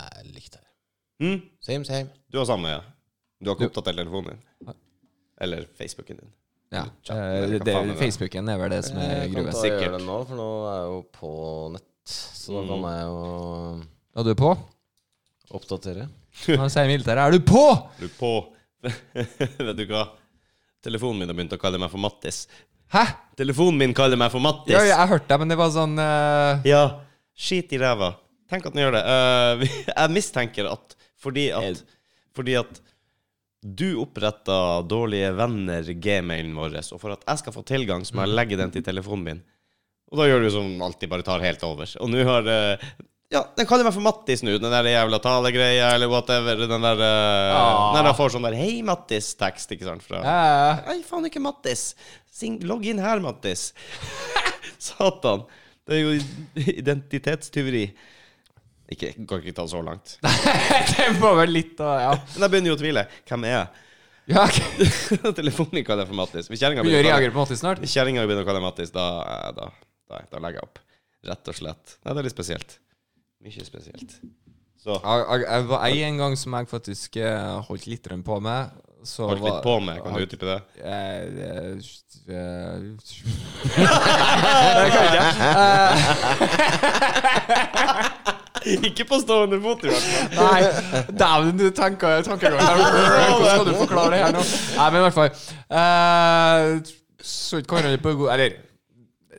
[SPEAKER 3] Nei, likt her.
[SPEAKER 1] Hm?
[SPEAKER 3] Same, same.
[SPEAKER 1] Du har samme, ja. Du har ikke oppdatert telefonen din. Eller Facebooken din.
[SPEAKER 2] Ja.
[SPEAKER 1] Chat,
[SPEAKER 2] eh,
[SPEAKER 1] eller hva
[SPEAKER 2] det,
[SPEAKER 1] faen er det?
[SPEAKER 2] Facebooken er vel det som er
[SPEAKER 3] Jeg kan
[SPEAKER 2] gruvet.
[SPEAKER 3] ta og gjøre
[SPEAKER 1] Sikkert.
[SPEAKER 3] det nå, for nå er jeg jo på nett. Så da kan jeg jo eh,
[SPEAKER 2] Er du
[SPEAKER 1] [laughs]
[SPEAKER 2] på?
[SPEAKER 3] oppdatere.
[SPEAKER 2] Nå sier militæret Er du på?!
[SPEAKER 1] Du på [laughs] Vet du hva? Telefonen min har begynt å kalle meg for Mattis.
[SPEAKER 2] Hæ?!
[SPEAKER 1] Telefonen min kaller meg for Mattis!
[SPEAKER 2] Ja, ja, jeg hørte det, men det var sånn eh,
[SPEAKER 1] Ja, skit i ræva. Tenk at den gjør det. Eh, vi- [laughs] jeg mistenker at fordi at, fordi at du oppretta dårlige venner gmailen vår, og for at jeg skal få tilgang, så må jeg legge den til telefonen min. Og da gjør du som alltid, bare tar helt over. Og nå har eh, Ja, den kaller meg for Mattis nå, den der jævla talegreia, eller whatever. Den der uh, Når jeg får sånn der 'Hei, Mattis'-tekst, ikke sant, fra
[SPEAKER 2] eh,
[SPEAKER 1] Nei, faen ikke Mattis. Sing, logg inn her, Mattis. [laughs] Satan. Det er jo identitetstyveri. Ikke, kan ikke ta det så langt.
[SPEAKER 2] [laughs] Det var vel litt av Ja.
[SPEAKER 1] Men jeg begynner jo å tvile. Hvem er jeg? [laughs]
[SPEAKER 2] ja ok.
[SPEAKER 1] Telefonen min kaller jeg for Mattis. Hvis kjerringa
[SPEAKER 2] Begynner å
[SPEAKER 1] begynner, å kalle-
[SPEAKER 2] reagere på en måte snart?
[SPEAKER 1] hvis kjerringa begynner å kalle meg Mattis, da, eh, da, da, da legger jeg opp. Rett og slett. Nei, det er litt spesielt. Mye spesielt. Så
[SPEAKER 2] Jeg, jeg, jeg var ei en gang som jeg faktisk eh, holdt litt grann på med. Så
[SPEAKER 1] holdt litt på med. Kan du utdype det? [laughs]
[SPEAKER 2] Eh, eh, eh, Jeg kan ikke.
[SPEAKER 1] Ikke på stående fot, i hvert fall.
[SPEAKER 2] Nei, dæven, du tenker tankegang. Hvordan skal du forklare det her nå? Nei, men i hvert fall eh, Så ikke hverandre på god Eller,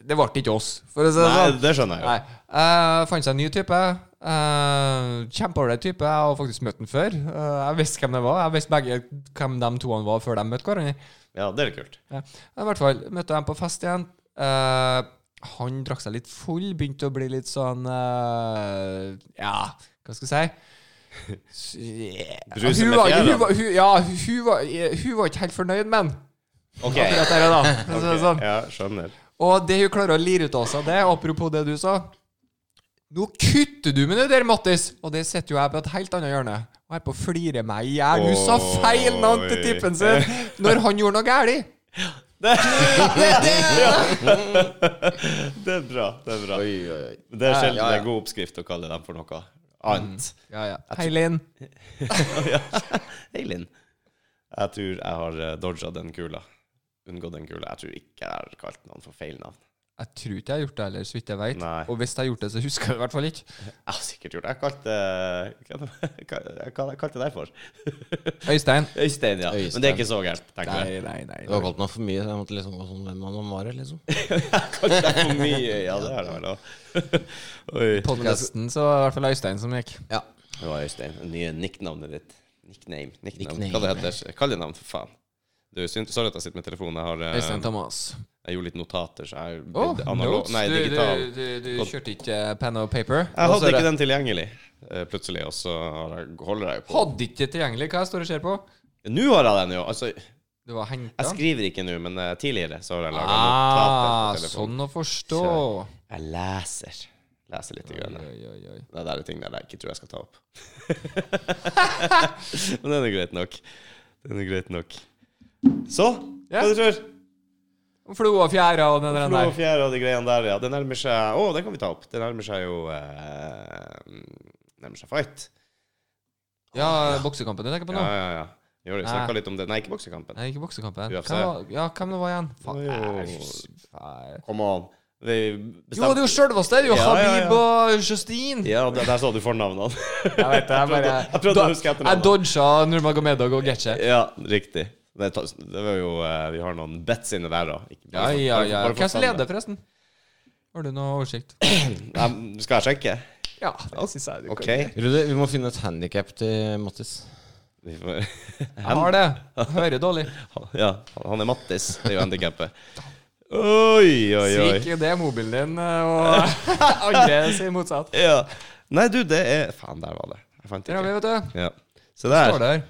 [SPEAKER 2] det ble ikke oss, for å si det
[SPEAKER 1] Nei,
[SPEAKER 2] sånn.
[SPEAKER 1] det skjønner jeg jo.
[SPEAKER 2] Nei. Eh, fant seg en ny type. Uh, Kjempeålreit type. Jeg har faktisk møtt den før. Eh, jeg visste hvem det var. Jeg visste begge hvem de to han var før de møtte hverandre.
[SPEAKER 1] Ja, det er kult.
[SPEAKER 2] Ja. I hvert fall møtte jeg ham på fest igjen. Eh, han drakk seg litt full, begynte å bli litt sånn eh, Ja, hva skal jeg si? S- [laughs] eh,
[SPEAKER 1] Bruse
[SPEAKER 2] hun
[SPEAKER 1] med
[SPEAKER 2] var-
[SPEAKER 1] fjærene.
[SPEAKER 2] hun var- hun- Ja, hun var, hun var ikke helt fornøyd med han. [laughs]
[SPEAKER 1] OK.
[SPEAKER 2] Akkurat der og da. for å si det sånn.
[SPEAKER 1] Ja, skjønner.
[SPEAKER 2] Og det hun klarer å lire ut av seg, det apropos det du sa Nå kutter du med det der, Mattis! Og det sitter jo jeg på et helt annet hjørne. Og jeg på å flire meg i hjel. Hun sa feil navn til tippen sin når han gjorde noe galt.
[SPEAKER 1] Det er bra. Det er bra.
[SPEAKER 3] Oi, oi, oi.
[SPEAKER 1] Det er sjelden
[SPEAKER 3] Ja, ja.
[SPEAKER 1] det er god oppskrift å kalle dem for noe annet.
[SPEAKER 2] Ja, ja. Hei, Linn.
[SPEAKER 1] Mm. [laughs] Hei, Linn. Jeg tror jeg har eh, dodget den kula. Unngått den kula. Jeg tror ikke jeg har kalt noen for feil navn.
[SPEAKER 2] Jeg tror ikke jeg har gjort det heller, så vidt jeg vet.
[SPEAKER 1] Nei.
[SPEAKER 2] Og hvis jeg har gjort det, så husker jeg det i hvert fall ikke.
[SPEAKER 1] Jeg har sikkert gjort det. Jeg kalte eh, Hva hva- hva kalte jeg deg for?
[SPEAKER 2] Øystein.
[SPEAKER 1] Øystein, ja. Men det er ikke så gærent, tenker jeg.
[SPEAKER 2] nei, nei.
[SPEAKER 3] Du har kalt meg for mye, så jeg måtte liksom gå sånn Hvem han var, liksom?
[SPEAKER 1] [laughs] Kalte deg for mye. Ja, det er det vel òg. [laughs] Oi.
[SPEAKER 2] Podkasten, så var det i hvert fall Øystein som gikk.
[SPEAKER 3] Ja.
[SPEAKER 1] Det var Øystein. Det nye nicknavnet ditt. Nickname. Nickname.
[SPEAKER 3] Nickname.
[SPEAKER 1] Hva det heter det? Kallenavn, for faen. Du, synd- sorry at jeg sitter med telefonen. Jeg har eh,
[SPEAKER 2] Øystein Thomas.
[SPEAKER 1] Jeg gjorde litt notater, så jeg
[SPEAKER 2] Å,
[SPEAKER 1] oh, analog, nei,
[SPEAKER 2] du,
[SPEAKER 1] digital.
[SPEAKER 2] du, du, du kjørte ikke eh, pen og paper?
[SPEAKER 1] Jeg
[SPEAKER 2] Og så
[SPEAKER 1] hadde
[SPEAKER 2] er
[SPEAKER 1] ikke
[SPEAKER 2] det-
[SPEAKER 1] den tilgjengelig eh, plutselig, og så har jeg- holder jeg på.
[SPEAKER 2] Hadde ikke tilgjengelig? Hva står det ser på?
[SPEAKER 1] Nå har jeg den jo! Altså, jeg
[SPEAKER 2] Det var henta?
[SPEAKER 1] skriver ikke nå, men eh, tidligere så har jeg laga
[SPEAKER 2] Ah,
[SPEAKER 1] notater på telefonen.
[SPEAKER 2] sånn å forstå.
[SPEAKER 1] Så- Jeg leser. Leser litt. Grann.
[SPEAKER 2] Oi, oi, oi.
[SPEAKER 1] Det der er ting der jeg ikke tror jeg skal ta
[SPEAKER 2] [laughs]
[SPEAKER 1] opp. men den er greit nok. Den er greit nok. Så,
[SPEAKER 2] Ja.
[SPEAKER 1] hva du tror du?
[SPEAKER 2] Flo og fjæra og den der.
[SPEAKER 1] Flo og fjære og de greiene der, ja. Det nærmer seg Å, den kan vi ta opp. Det nærmer seg jo eh, Nærmer seg fight.
[SPEAKER 2] Ja, boksekampen du tenker på nå?
[SPEAKER 1] Ja, ja, ja. Jo, vi snakka litt om det. Nei, ikke boksekampen.
[SPEAKER 2] Nei, ikke boksekampen.
[SPEAKER 1] UFC.
[SPEAKER 2] Hvem var, ja, hvem det var igjen? Faen,
[SPEAKER 1] Det var jo-
[SPEAKER 2] jeg hus- faen.
[SPEAKER 1] Kom an. Vi
[SPEAKER 2] Jo, det er jo sjølveste! Det er jo
[SPEAKER 1] Ja, ja, ja.
[SPEAKER 2] Habib og Justine!
[SPEAKER 1] Ja, der, der sa du fornavnene.
[SPEAKER 2] [laughs] Jeg vet det, jeg
[SPEAKER 1] prøvde-
[SPEAKER 2] bare
[SPEAKER 1] jeg prøvde å huske etternavnet.
[SPEAKER 2] Jeg dodga Nurmagomedov og Getche.
[SPEAKER 1] ja, riktig. Det, ta- det var jo eh, Vi har noen bets inne der òg.
[SPEAKER 2] Ja, ja, ja. Hvem som leder, forresten? Har du noe oversikt?
[SPEAKER 1] Skal jeg sjekke?
[SPEAKER 2] Ja, det syns jeg du
[SPEAKER 1] OK.
[SPEAKER 3] Rude, vi må finne et handikap til Mattis.
[SPEAKER 1] Vi får, [laughs]
[SPEAKER 2] Jeg har det. Hører dårlig.
[SPEAKER 1] ja, han er Mattis. Det er jo
[SPEAKER 2] [laughs]
[SPEAKER 1] handikappet. Oi, oi, oi.
[SPEAKER 2] Sikk, det er mobilen din, eh, og [laughs] andre sier motsatt.
[SPEAKER 1] Ja. Nei, du, det er Faen, der var det. Jeg fant
[SPEAKER 2] Der har vi,
[SPEAKER 1] ikke.
[SPEAKER 2] vet du.
[SPEAKER 1] Ja. Se der.
[SPEAKER 2] Står der.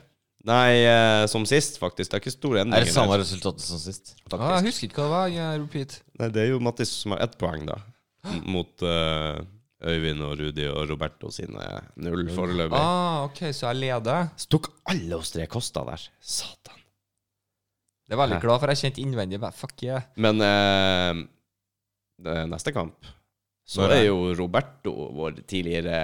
[SPEAKER 1] Nei, eh, som sist, faktisk. Det er ikke stor endring.
[SPEAKER 3] Er det samme resultatet som sist?
[SPEAKER 2] Ah, jeg husker ikke hva det var. Jeg repeat.
[SPEAKER 1] Nei, det er jo Mattis som har ett poeng, da. M- Mot eh, Øyvind og Rudi og Roberto sine null foreløpig.
[SPEAKER 2] Ah, ok, så jeg leder.
[SPEAKER 1] Stukk alle hos tre koster der. Satan.
[SPEAKER 2] Det er veldig
[SPEAKER 1] Hæ?
[SPEAKER 2] glad for jeg kjente innvendig bare, Fuck yeah.
[SPEAKER 1] Men eh, det er neste kamp så
[SPEAKER 4] Når
[SPEAKER 1] er
[SPEAKER 4] er-
[SPEAKER 1] jo Roberto vår tidligere,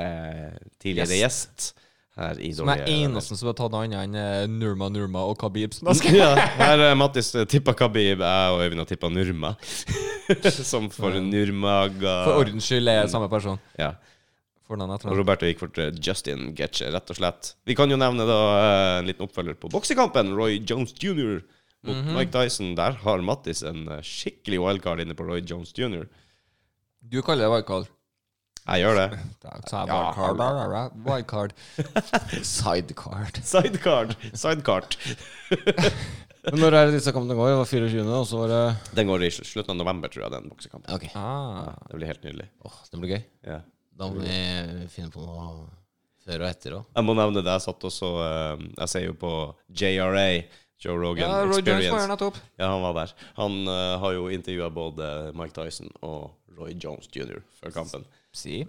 [SPEAKER 1] tidligere gjest her i
[SPEAKER 2] Som er
[SPEAKER 1] Dårlige Venner.
[SPEAKER 2] eneste som har tatt noe annet enn eh, Nurma Nurma og Khabib. som [laughs] jeg skal-
[SPEAKER 1] [laughs] ja, her er Mattis eh, tippa Khabib, jeg og Øyvind har tippa Nurma. [laughs] Som for Nurmaga
[SPEAKER 2] For ordens skyld er jeg samme person.
[SPEAKER 1] Ja.
[SPEAKER 2] Fornavn
[SPEAKER 1] Og
[SPEAKER 2] etter
[SPEAKER 1] Roberto gikk for til Justin Getche, rett og slett. Vi kan jo nevne da eh, en liten oppfølger på boksekampen. Roy Jones jr. mot
[SPEAKER 2] Mhm.
[SPEAKER 1] Mike Tyson. Der har Mattis en eh, skikkelig wildcard inne på Roy Jones jr.
[SPEAKER 2] Du kaller det wildcard.
[SPEAKER 1] Jeg gjør
[SPEAKER 2] [laughs]
[SPEAKER 1] det.
[SPEAKER 2] Så jeg
[SPEAKER 1] Ja,
[SPEAKER 2] wildcard.
[SPEAKER 1] alle.
[SPEAKER 2] ra, ra, ra, Wildcard.
[SPEAKER 3] Sidecard.
[SPEAKER 1] Sidecard. Sidecard.
[SPEAKER 4] Men når er det disse kampene går? Det var 24., og så var det
[SPEAKER 1] Den går i sl- slutten av november, tror jeg, den boksekampen.
[SPEAKER 3] Ok.
[SPEAKER 2] Ah.
[SPEAKER 1] Det blir helt nydelig.
[SPEAKER 3] Åh, det blir gøy.
[SPEAKER 1] Ja.
[SPEAKER 3] Da må vi finne på noe før og etter òg.
[SPEAKER 1] Jeg må nevne det. Jeg satt også eh, Jeg ser jo på JRA, Joe Rogan
[SPEAKER 2] Ja, Roy Jones var her
[SPEAKER 1] Experience.
[SPEAKER 2] nettopp.
[SPEAKER 1] Ja, han var der. Han eh, har jo intervjua både Mike Tyson og Roy Jones jr. før kampen.
[SPEAKER 2] Si.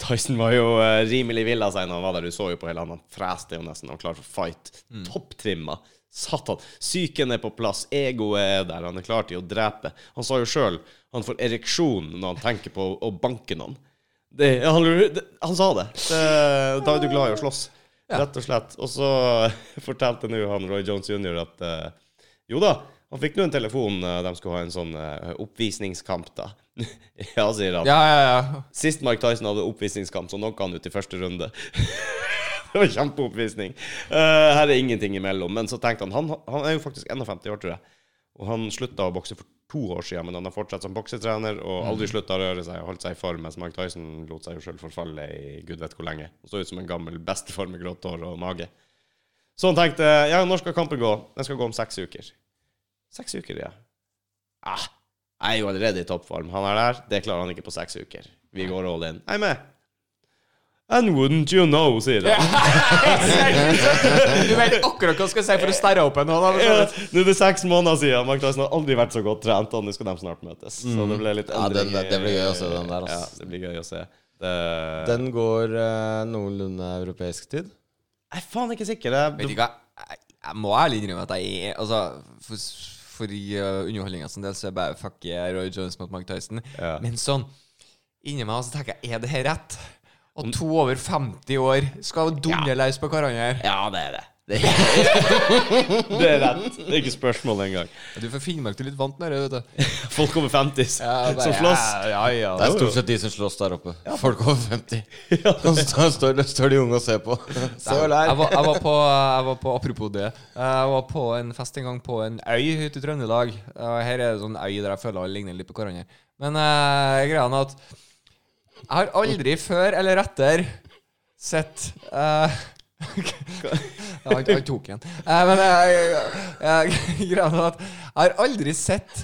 [SPEAKER 1] Tyson var jo eh, rimelig vill av seg når han var der. Du så jo på hele han. Han freste jo nesten. Han var klar for fight. Topptrimma. Satan. Psyken er på plass. Egoet er der. Han er klar til å drepe. Han sa jo sjøl han får ereksjon når han tenker på å banke noen. Det, han, lurer- det, han sa det. det. Da er du glad i å slåss. Rett og slett. Og så [laughs] fortalte nå han Roy Jones jr. at eh, jo da, han fikk nå en telefon. eh, De skulle ha en sånn eh, oppvisningskamp, da. [laughs] ja, sier han.
[SPEAKER 2] Ja, ja, [laughs] ja.
[SPEAKER 1] Sist Mike Tyson hadde oppvisningskamp, så knocka han ut i første runde. [laughs] det var kjempeoppvisning. Eh, her er ingenting imellom. Men så tenkte han, han Han er jo faktisk 51 år, tror jeg. Og han slutta å bokse for to år siden, men han har fortsatt som boksetrener og aldri slutta å røre seg og holdt seg i form, mens Mike Tyson lot seg jo sjøl forfalle i gud vet hvor lenge. Og så ut som en gammel bestefar med grått hår og mage. Så han tenkte ja, når skal kampen gå? Den skal gå om seks uker. Seks uker, ja. Ah, jeg er jo allerede i toppform. Han er der. Det klarer han ikke på seks uker. Vi går all in. Jeg er med. And wouldn't you know, sier han.
[SPEAKER 2] Du vet akkurat hva jeg skal si for å sterre opp en hånd.
[SPEAKER 1] [laughs] Ja, Nå er det seks måneder siden. Mark Tyson har aldri vært så godt trent, og nå skal de snart møtes. Så det ble litt
[SPEAKER 3] Mm. Ja, den-
[SPEAKER 1] endring.
[SPEAKER 3] den- det blir gøy å se den der, ass.
[SPEAKER 1] Ja, det blir gøy å se. Det-
[SPEAKER 4] Den går eh, noenlunde europeisk tid.
[SPEAKER 1] Jeg er faen ikke sikker. Jeg,
[SPEAKER 2] Vet du hva, jeg, jeg må ærlig innrømme at jeg er Altså, for, for i uh, underholdninga sin del så er jeg bare fuck yeah, Roy Jones mot Mark Tyson.
[SPEAKER 1] Ja.
[SPEAKER 2] Men sånn inni meg så tenker jeg, er det her rett? Og to over 50 år skal dundre løs på hverandre.
[SPEAKER 3] Ja, det
[SPEAKER 1] [laughs]
[SPEAKER 3] er det.
[SPEAKER 1] det er rett. Det er ikke spørsmål engang.
[SPEAKER 2] Du fra Finnmark du er litt vant med det, vet du.
[SPEAKER 1] Folk over 50
[SPEAKER 2] Ja, bare,
[SPEAKER 1] som slåss.
[SPEAKER 2] Ja, ja,
[SPEAKER 3] Det
[SPEAKER 2] ja.
[SPEAKER 3] er stort sett de som slåss der oppe. Folk over 50. [laughs]
[SPEAKER 4] Og så står, står de unge og ser på. Se der.
[SPEAKER 2] Jeg var, jeg, var på, jeg var på Apropos det. Jeg var på en fest en gang på en øy ute i Trøndelag. Og her er det sånn øy der jeg føler alle ligner litt på hverandre. Men eh, greia er at jeg har aldri før eller etter sett eh, [laughs] ja, han, han tok en. Eh, men jeg, jeg, jeg, [laughs] greia er at jeg har aldri sett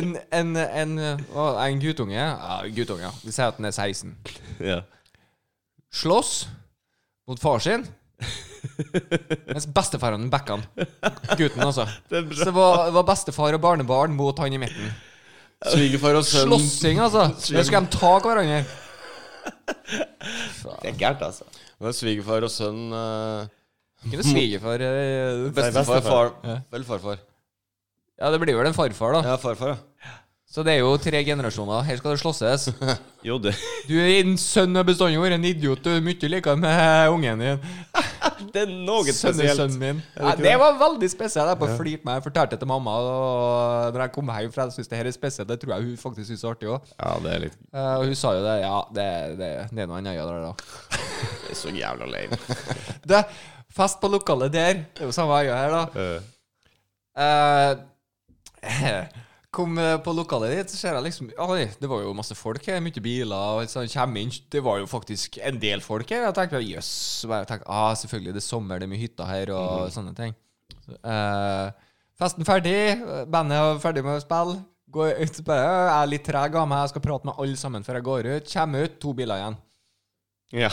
[SPEAKER 2] en, en, en, å, en guttunge Ja, guttunge. ja. Vi sier at den er 16
[SPEAKER 1] Ja.
[SPEAKER 2] slåss mot far sin. Mens bestefaren backa han. Gutten, altså. Så det var, var bestefar og barnebarn mot han i midten.
[SPEAKER 4] Svigerfar og sønn.
[SPEAKER 2] Slåssing, altså! Nå skal de ta hverandre.
[SPEAKER 1] Det er gærent, altså.
[SPEAKER 4] Det var Svigerfar og sønn. eh,
[SPEAKER 2] Ikke noe svigerfar eh,
[SPEAKER 4] bestefar, far,
[SPEAKER 2] Ja.
[SPEAKER 4] vel farfar.
[SPEAKER 2] Ja, det blir vel en farfar, da.
[SPEAKER 4] Ja, farfar, ja.
[SPEAKER 2] Så det er jo tre generasjoner. Her skal det slåsses.
[SPEAKER 1] Jo, du.
[SPEAKER 2] Du er en sønn av bestandig vært en idiot. Du er mye likere med ungen din.
[SPEAKER 1] Det er noe spesielt.
[SPEAKER 2] Sønnesønnen min. Ja, det var veldig spesielt. Jeg bare flirte meg. Jeg fortalte det til mamma. Og når jeg kom hjem, for jeg syntes det her er spesielt, det tror jeg hun faktisk syntes var artig òg.
[SPEAKER 1] Ja, det er litt
[SPEAKER 2] Eh, Og hun sa jo det. Ja, det, det, det er noe annet der, da.
[SPEAKER 1] det er så jævla lame.
[SPEAKER 3] [laughs]
[SPEAKER 2] Det, fest på lokalet der. Det er jo samme øya her, da.
[SPEAKER 1] Eh,
[SPEAKER 2] Eh, Kom eh, på lokalet ditt, så ser jeg liksom Oi, det var jo masse folk her. Mye biler. og sånn, kjem inn, Det var jo faktisk en del folk her. Jeg tenkte jøss. så bare tenkte, ah, selvfølgelig, det er sommer, det er mye hytter her, og sånne ting. Så, eh, festen ferdig, bandet er ferdig med å spille. Går ut, bare, «Å, jeg er litt treg av meg, jeg skal prate med alle sammen før jeg går ut. Kjem ut, to biler igjen.
[SPEAKER 1] ja.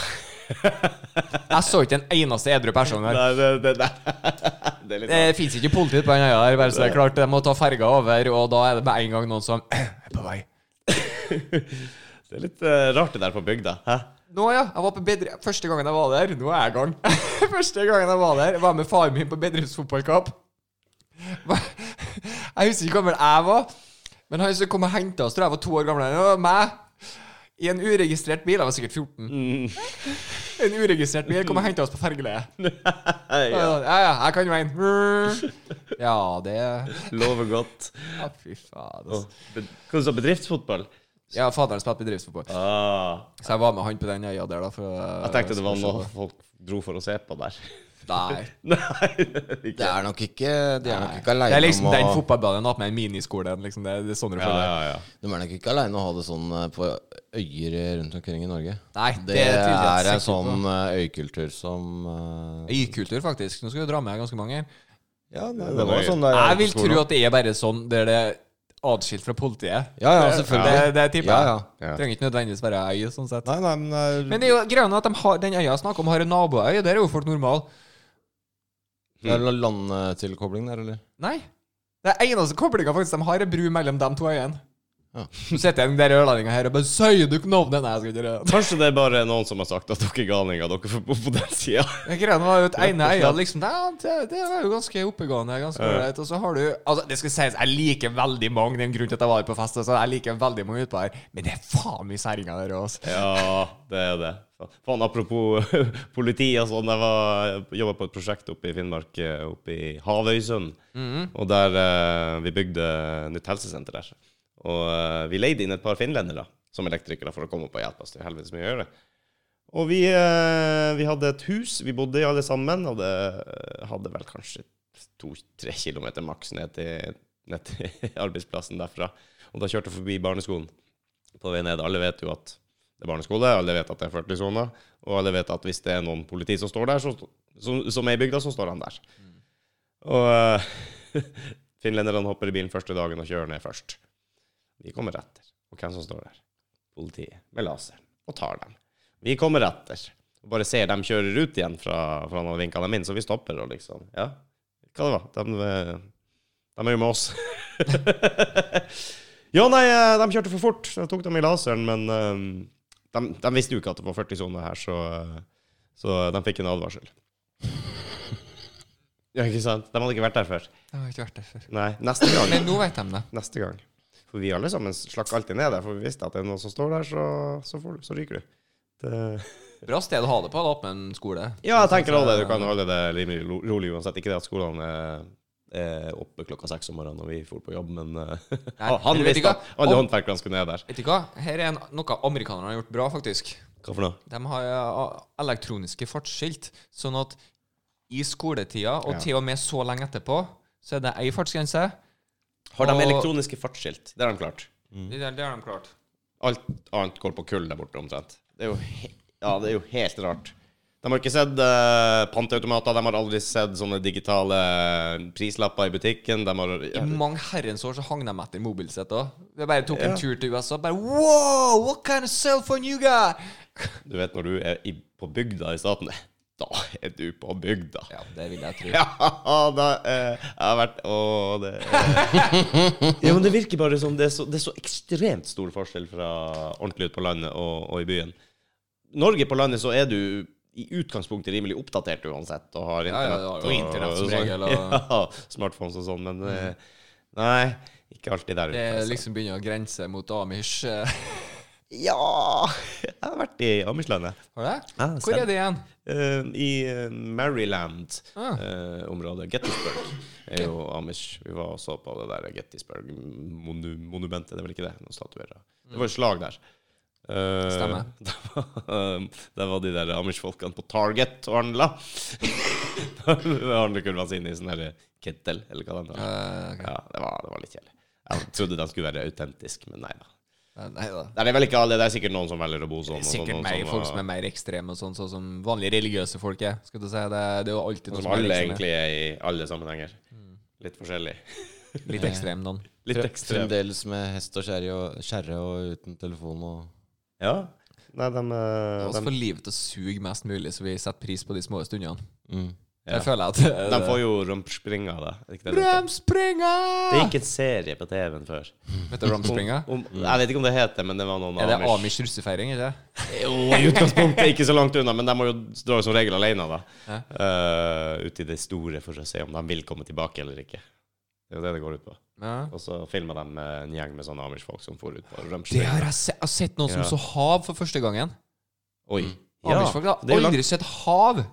[SPEAKER 2] Jeg så ikke en eneste edru person der.
[SPEAKER 1] Nei, det, det, det, [laughs] det er litt
[SPEAKER 2] Det fins ikke politi på den øya der, bare så det er klart. De må ta ferga over, og da er det med en gang noen som [clears throat] er på vei.
[SPEAKER 1] Det er litt eh, rart det der på bygda. Hæ?
[SPEAKER 2] Nå ja, jeg var på bedre... Første gangen jeg var der Nå er jeg i gang. [laughs] Første gangen jeg var der, jeg var med faren min på bedriftsfotballkamp. Jeg husker ikke hvor gammel jeg var, men han som kom og henta oss, tror jeg var to år gamlere enn han var meg. I en uregistrert bil. Jeg var sikkert 14. En uregistrert bil kom og henta oss på fergeleiet. Ja,
[SPEAKER 1] Ja.
[SPEAKER 2] ja, jeg kan veien. Ja, det
[SPEAKER 1] Lover godt.
[SPEAKER 2] [laughs] ja, Fy
[SPEAKER 1] Åh,
[SPEAKER 2] faen. Altså.
[SPEAKER 1] be- Hva sa du, bedriftsfotball?
[SPEAKER 2] Ja, faderen spilte bedriftsfotball.
[SPEAKER 1] Ah,
[SPEAKER 2] Så jeg var med han på den øya der, da. For,
[SPEAKER 1] jeg tenkte det var noe folk dro for å se på der.
[SPEAKER 2] [laughs]
[SPEAKER 1] [laughs]
[SPEAKER 2] Nei.
[SPEAKER 1] Nei, ikke.
[SPEAKER 3] Det er nok ikke De er nok
[SPEAKER 2] Nei.
[SPEAKER 3] ikke
[SPEAKER 2] Det er
[SPEAKER 3] aleine
[SPEAKER 2] liksom den fotballbanen du har hatt med en miniskole. Liksom det, det er sånn du
[SPEAKER 1] Ja,
[SPEAKER 2] føler det.
[SPEAKER 1] ja, ja.
[SPEAKER 3] De er nok ikke aleine å ha det sånn eh, på øyer rundt omkring i Norge.
[SPEAKER 2] Nei,
[SPEAKER 3] Det,
[SPEAKER 2] det er
[SPEAKER 3] er,
[SPEAKER 2] tydelig at
[SPEAKER 3] en
[SPEAKER 2] sektor på-
[SPEAKER 3] sånn eh, øykultur som eh,
[SPEAKER 2] Øykultur, faktisk. Nå skal du dra med ganske mange.
[SPEAKER 3] Ja, nei,
[SPEAKER 1] Det
[SPEAKER 3] det
[SPEAKER 1] var
[SPEAKER 3] var
[SPEAKER 1] jo-
[SPEAKER 3] sånn der
[SPEAKER 2] Jeg vil
[SPEAKER 3] skolen.
[SPEAKER 2] tro at det er bare sånn der det er atskilt fra politiet.
[SPEAKER 3] Ja, ja,
[SPEAKER 2] Det,
[SPEAKER 3] selvfølgelig.
[SPEAKER 2] det tipper
[SPEAKER 3] Ja,
[SPEAKER 2] jeg.
[SPEAKER 3] ja.
[SPEAKER 1] Ja.
[SPEAKER 2] Trenger ikke nødvendigvis være ei, sånn sett.
[SPEAKER 3] Nei, nei, men det
[SPEAKER 2] Men det er jo greia at de har, den øya jeg snakker om, har en naboøy. Der er jo folk normale.
[SPEAKER 1] Mm.
[SPEAKER 3] er- er det landtilkobling der, eller?
[SPEAKER 2] Nei. Det er eneste koblinga faktisk de har, er bru mellom de to øyene.
[SPEAKER 3] Ja.
[SPEAKER 2] Så sitter den der ørlendinga her og bare Sier du ikke navnet? Nei, jeg skal ikke gjøre det.
[SPEAKER 1] Kanskje det er bare noen som har sagt at dere galninger, dere får bo på den sida.
[SPEAKER 2] Men Greia var jo at ene øya liksom Nei, det, det var jo ganske oppegående. Ganske ålreit. Og så har du Altså, det skal sies, jeg liker veldig mange. Det er en grunn til at jeg var på fest. Altså, jeg liker veldig mange utpå her. Men det er faen mye særinger der også
[SPEAKER 1] [laughs]
[SPEAKER 2] altså.
[SPEAKER 1] Ja, det er det. Faen, apropos [laughs] politi og sånn. Jeg var jobba på et prosjekt oppe i Finnmark, eh, oppe i Havøysund. Og der eh, vi bygde nytt helsesenter der. Og eh, vi leide inn et par finlendere som elektrikere for å komme opp og hjelpe oss. Det er helvetes mye å gjøre. Og vi, eh, vi hadde et hus vi bodde i alle sammen, og det hadde vel kanskje to-tre kilometer maks ned til, ned til [laughs] arbeidsplassen derfra. Og da kjørte jeg forbi barneskolen på vei ned. Alle vet jo at det er barneskole, alle vet at det er 40 soner, og alle vet at hvis det er noen politi som står der, så, som, som er i bygda, så står han der. Og eh, [laughs] finlenderne hopper i bilen første dagen og kjører ned først. Vi kommer etter. Og hvem som står der? Politiet med laser. Og tar dem. Vi kommer etter. Og bare ser dem kjører ut igjen fra, fra han hadde vinka dem inn, så vi stopper og liksom Ja, hva det var? De, eh, de er jo med oss. [laughs] ja, nei, eh, de kjørte for fort. Så jeg tok dem i laseren, men eh, de, de visste jo ikke at det var 40 soner her, så, eh, så de fikk en advarsel. Ja, ikke sant? De hadde ikke vært der før.
[SPEAKER 2] Jeg har ikke vært der før.
[SPEAKER 1] Nei, neste gang.
[SPEAKER 2] Men nå vet de det.
[SPEAKER 1] Neste gang. For vi alle sammen slakk alltid ned der, for vi visste at det er noen som står der, så, så, får du, så ryker du. Det...
[SPEAKER 2] Bra sted å ha det på, da, oppe med en skole.
[SPEAKER 1] Ja, jeg tenker også det. Du kan holde det rimelig ro- rolig uansett. Ikke det at skolene er, er oppe klokka seks om morgenen når vi dro på jobb, men eh, [laughs] han
[SPEAKER 2] men vet du
[SPEAKER 1] visste
[SPEAKER 2] hva?
[SPEAKER 1] at alle
[SPEAKER 2] Om-
[SPEAKER 1] håndverkerne skulle ned der.
[SPEAKER 2] Vet du hva? Her er en, noe amerikanerne har gjort bra, faktisk.
[SPEAKER 1] Hva for noe?
[SPEAKER 2] De har eh, elektroniske fartsskilt, sånn at i skoletida, og
[SPEAKER 1] Ja.
[SPEAKER 2] til og med så lenge etterpå, så er det ei fartsgrense.
[SPEAKER 1] Har de
[SPEAKER 2] Og-
[SPEAKER 1] elektroniske fartsskilt? Det har de klart.
[SPEAKER 2] Det, der- det har de klart.
[SPEAKER 1] Alt annet går på kull der borte, omtrent. Det er jo, he ja, det er jo helt rart. De har ikke sett eh, panteautomater, de har aldri sett sånne digitale eh, prislapper i butikken. De har
[SPEAKER 2] I mange herrens år så hang de etter mobilsett òg. Vi bare tok en tur til USA. Bare wow, what kind of cell phone you got?
[SPEAKER 1] Du vet når du er i, på bygda i staten, [laughs] da er du på bygda.
[SPEAKER 2] Ja, det vil jeg tro.
[SPEAKER 1] [laughs] Ja, da eh, Jeg har vært Å, det [laughs] Ja, men det virker bare som det er så, det er så ekstremt stor forskjell fra ordentlig ut på landet og, og i byen. Norge på landet så er du i utgangspunktet rimelig oppdatert uansett, og har
[SPEAKER 2] Ja, ja,
[SPEAKER 1] internett.
[SPEAKER 2] ja, og internett som
[SPEAKER 1] sånn.
[SPEAKER 2] regel, og-
[SPEAKER 1] [laughs]
[SPEAKER 2] Mm.
[SPEAKER 1] Ja, smartphones og sånn, men eh, Nei, ikke alltid der ute.
[SPEAKER 2] Det
[SPEAKER 1] altså.
[SPEAKER 2] liksom begynner å grense mot Amish. eh. [laughs]
[SPEAKER 1] Ja [laughs] Jeg har vært i Amish-landet.
[SPEAKER 2] Har du det?
[SPEAKER 1] Ja,
[SPEAKER 2] Hvor er det igjen?
[SPEAKER 1] Eh, I eh, Maryland-området.
[SPEAKER 2] Ah.
[SPEAKER 1] Gettysburg er jo Amish. Vi var og så på det der Gettysburg-monumentet. Det er vel ikke det? Noen statuer. da. Det var et slag der. Eh,
[SPEAKER 2] Stemmer.
[SPEAKER 1] [laughs] Det var, det var de der Amish-folkene på Target og [laughs] handla. Handlekurvene sine i sånn her kettel, eller hva det heter.
[SPEAKER 2] Eh, ok.
[SPEAKER 1] Ja, det var, det var litt kjedelig. Jeg trodde den skulle være autentisk, men nei da.
[SPEAKER 2] Eh, Nei da.
[SPEAKER 1] Nei, Det er vel ikke alle, det er sikkert noen som velger å bo sånn. og sånn,
[SPEAKER 2] Sikkert
[SPEAKER 1] og
[SPEAKER 2] mer,
[SPEAKER 1] sånn, og-
[SPEAKER 2] folk som er mer ekstreme, og sånn, sånn som vanlige religiøse folk er. Skal du si, det, det er jo alltid noen
[SPEAKER 1] Som
[SPEAKER 2] som er
[SPEAKER 1] Sånn alle
[SPEAKER 2] liksom,
[SPEAKER 1] egentlig er Mm. i alle sammenhenger. Litt forskjellig.
[SPEAKER 2] litt ekstrem noen.
[SPEAKER 1] Litt
[SPEAKER 3] Fre-
[SPEAKER 1] ekstrem.
[SPEAKER 3] Fremdeles med hest og kjerre og, kjerre og uten telefon og
[SPEAKER 1] Ja. Nei, de,
[SPEAKER 2] La
[SPEAKER 1] eh,
[SPEAKER 2] oss
[SPEAKER 1] de,
[SPEAKER 2] få livet til å suge mest mulig, så vi setter pris på de små stundene.
[SPEAKER 1] mm,
[SPEAKER 2] Jeg
[SPEAKER 1] ja.
[SPEAKER 2] føler at det er
[SPEAKER 1] de
[SPEAKER 2] det.
[SPEAKER 1] får jo rumpspringa, da. Er det Ikke det det, heter?
[SPEAKER 2] Bremspringer!
[SPEAKER 1] det gikk en serie på TV-en før.
[SPEAKER 2] Vet du Rumspringer?
[SPEAKER 1] Om, jeg vet ikke om det heter men det var noen
[SPEAKER 2] Er det Amish russefeiring, ikke det?
[SPEAKER 1] Jo, i utgangspunktet ikke så langt unna, men de må jo dra som regel alene, da.
[SPEAKER 2] Ja.
[SPEAKER 1] Eh, ut i det store for å se om de vil komme tilbake eller ikke. Det er jo det det går ut på.
[SPEAKER 2] Ja.
[SPEAKER 1] Og så filmer de eh, en gjeng med sånne Amish-folk som får ut på
[SPEAKER 2] Det
[SPEAKER 1] rømsling.
[SPEAKER 2] har jeg, se jeg har sett noen
[SPEAKER 1] Ja.
[SPEAKER 2] som så hav for første gangen.
[SPEAKER 1] Oi.
[SPEAKER 2] Amish-folk har
[SPEAKER 1] det er jo langt-
[SPEAKER 2] aldri sett hav!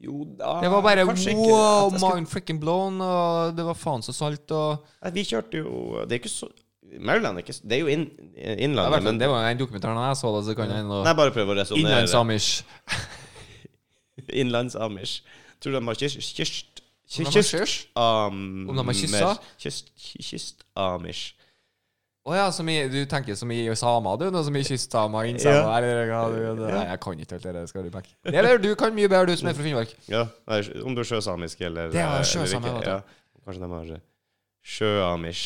[SPEAKER 1] Jo, da,
[SPEAKER 2] Det var bare
[SPEAKER 1] kanskje ikke.
[SPEAKER 2] wow,
[SPEAKER 1] Jeg skulle-
[SPEAKER 2] mind freaking blown, og det var faen så salt, og
[SPEAKER 1] Nei, Vi kjørte jo Det er ikke så Maryland er ikke så- Det er jo inn,
[SPEAKER 2] Ja, i hvert
[SPEAKER 1] innlandet,
[SPEAKER 2] fall,
[SPEAKER 1] men
[SPEAKER 2] Det var en dokumentar da jeg så det, så kan jeg ennå
[SPEAKER 1] Nei, bare prøv å resonnere.
[SPEAKER 2] Innlands-Amish.
[SPEAKER 1] Innlands-Amish. Tror du de har kyst... kyst
[SPEAKER 2] Om de har kyss?
[SPEAKER 1] Om
[SPEAKER 2] Om de har kyssa?
[SPEAKER 1] Kyst, kyst Amish.
[SPEAKER 2] Å ja, som i, du tenker som i samer, du? Noe som i kystsamer, innsamer
[SPEAKER 1] Ja.
[SPEAKER 2] eller hva du Nei, jeg kan ikke alt det der, skal du pakke. Eller du kan mye bedre, du som er fra Finnmark.
[SPEAKER 1] Ja, nei, om du er sjøsamisk eller eh,
[SPEAKER 2] Det er
[SPEAKER 1] eller
[SPEAKER 2] sjøsame,
[SPEAKER 1] ikke.
[SPEAKER 2] vet du.
[SPEAKER 1] Ja. Kanskje de har eh, sjøamish.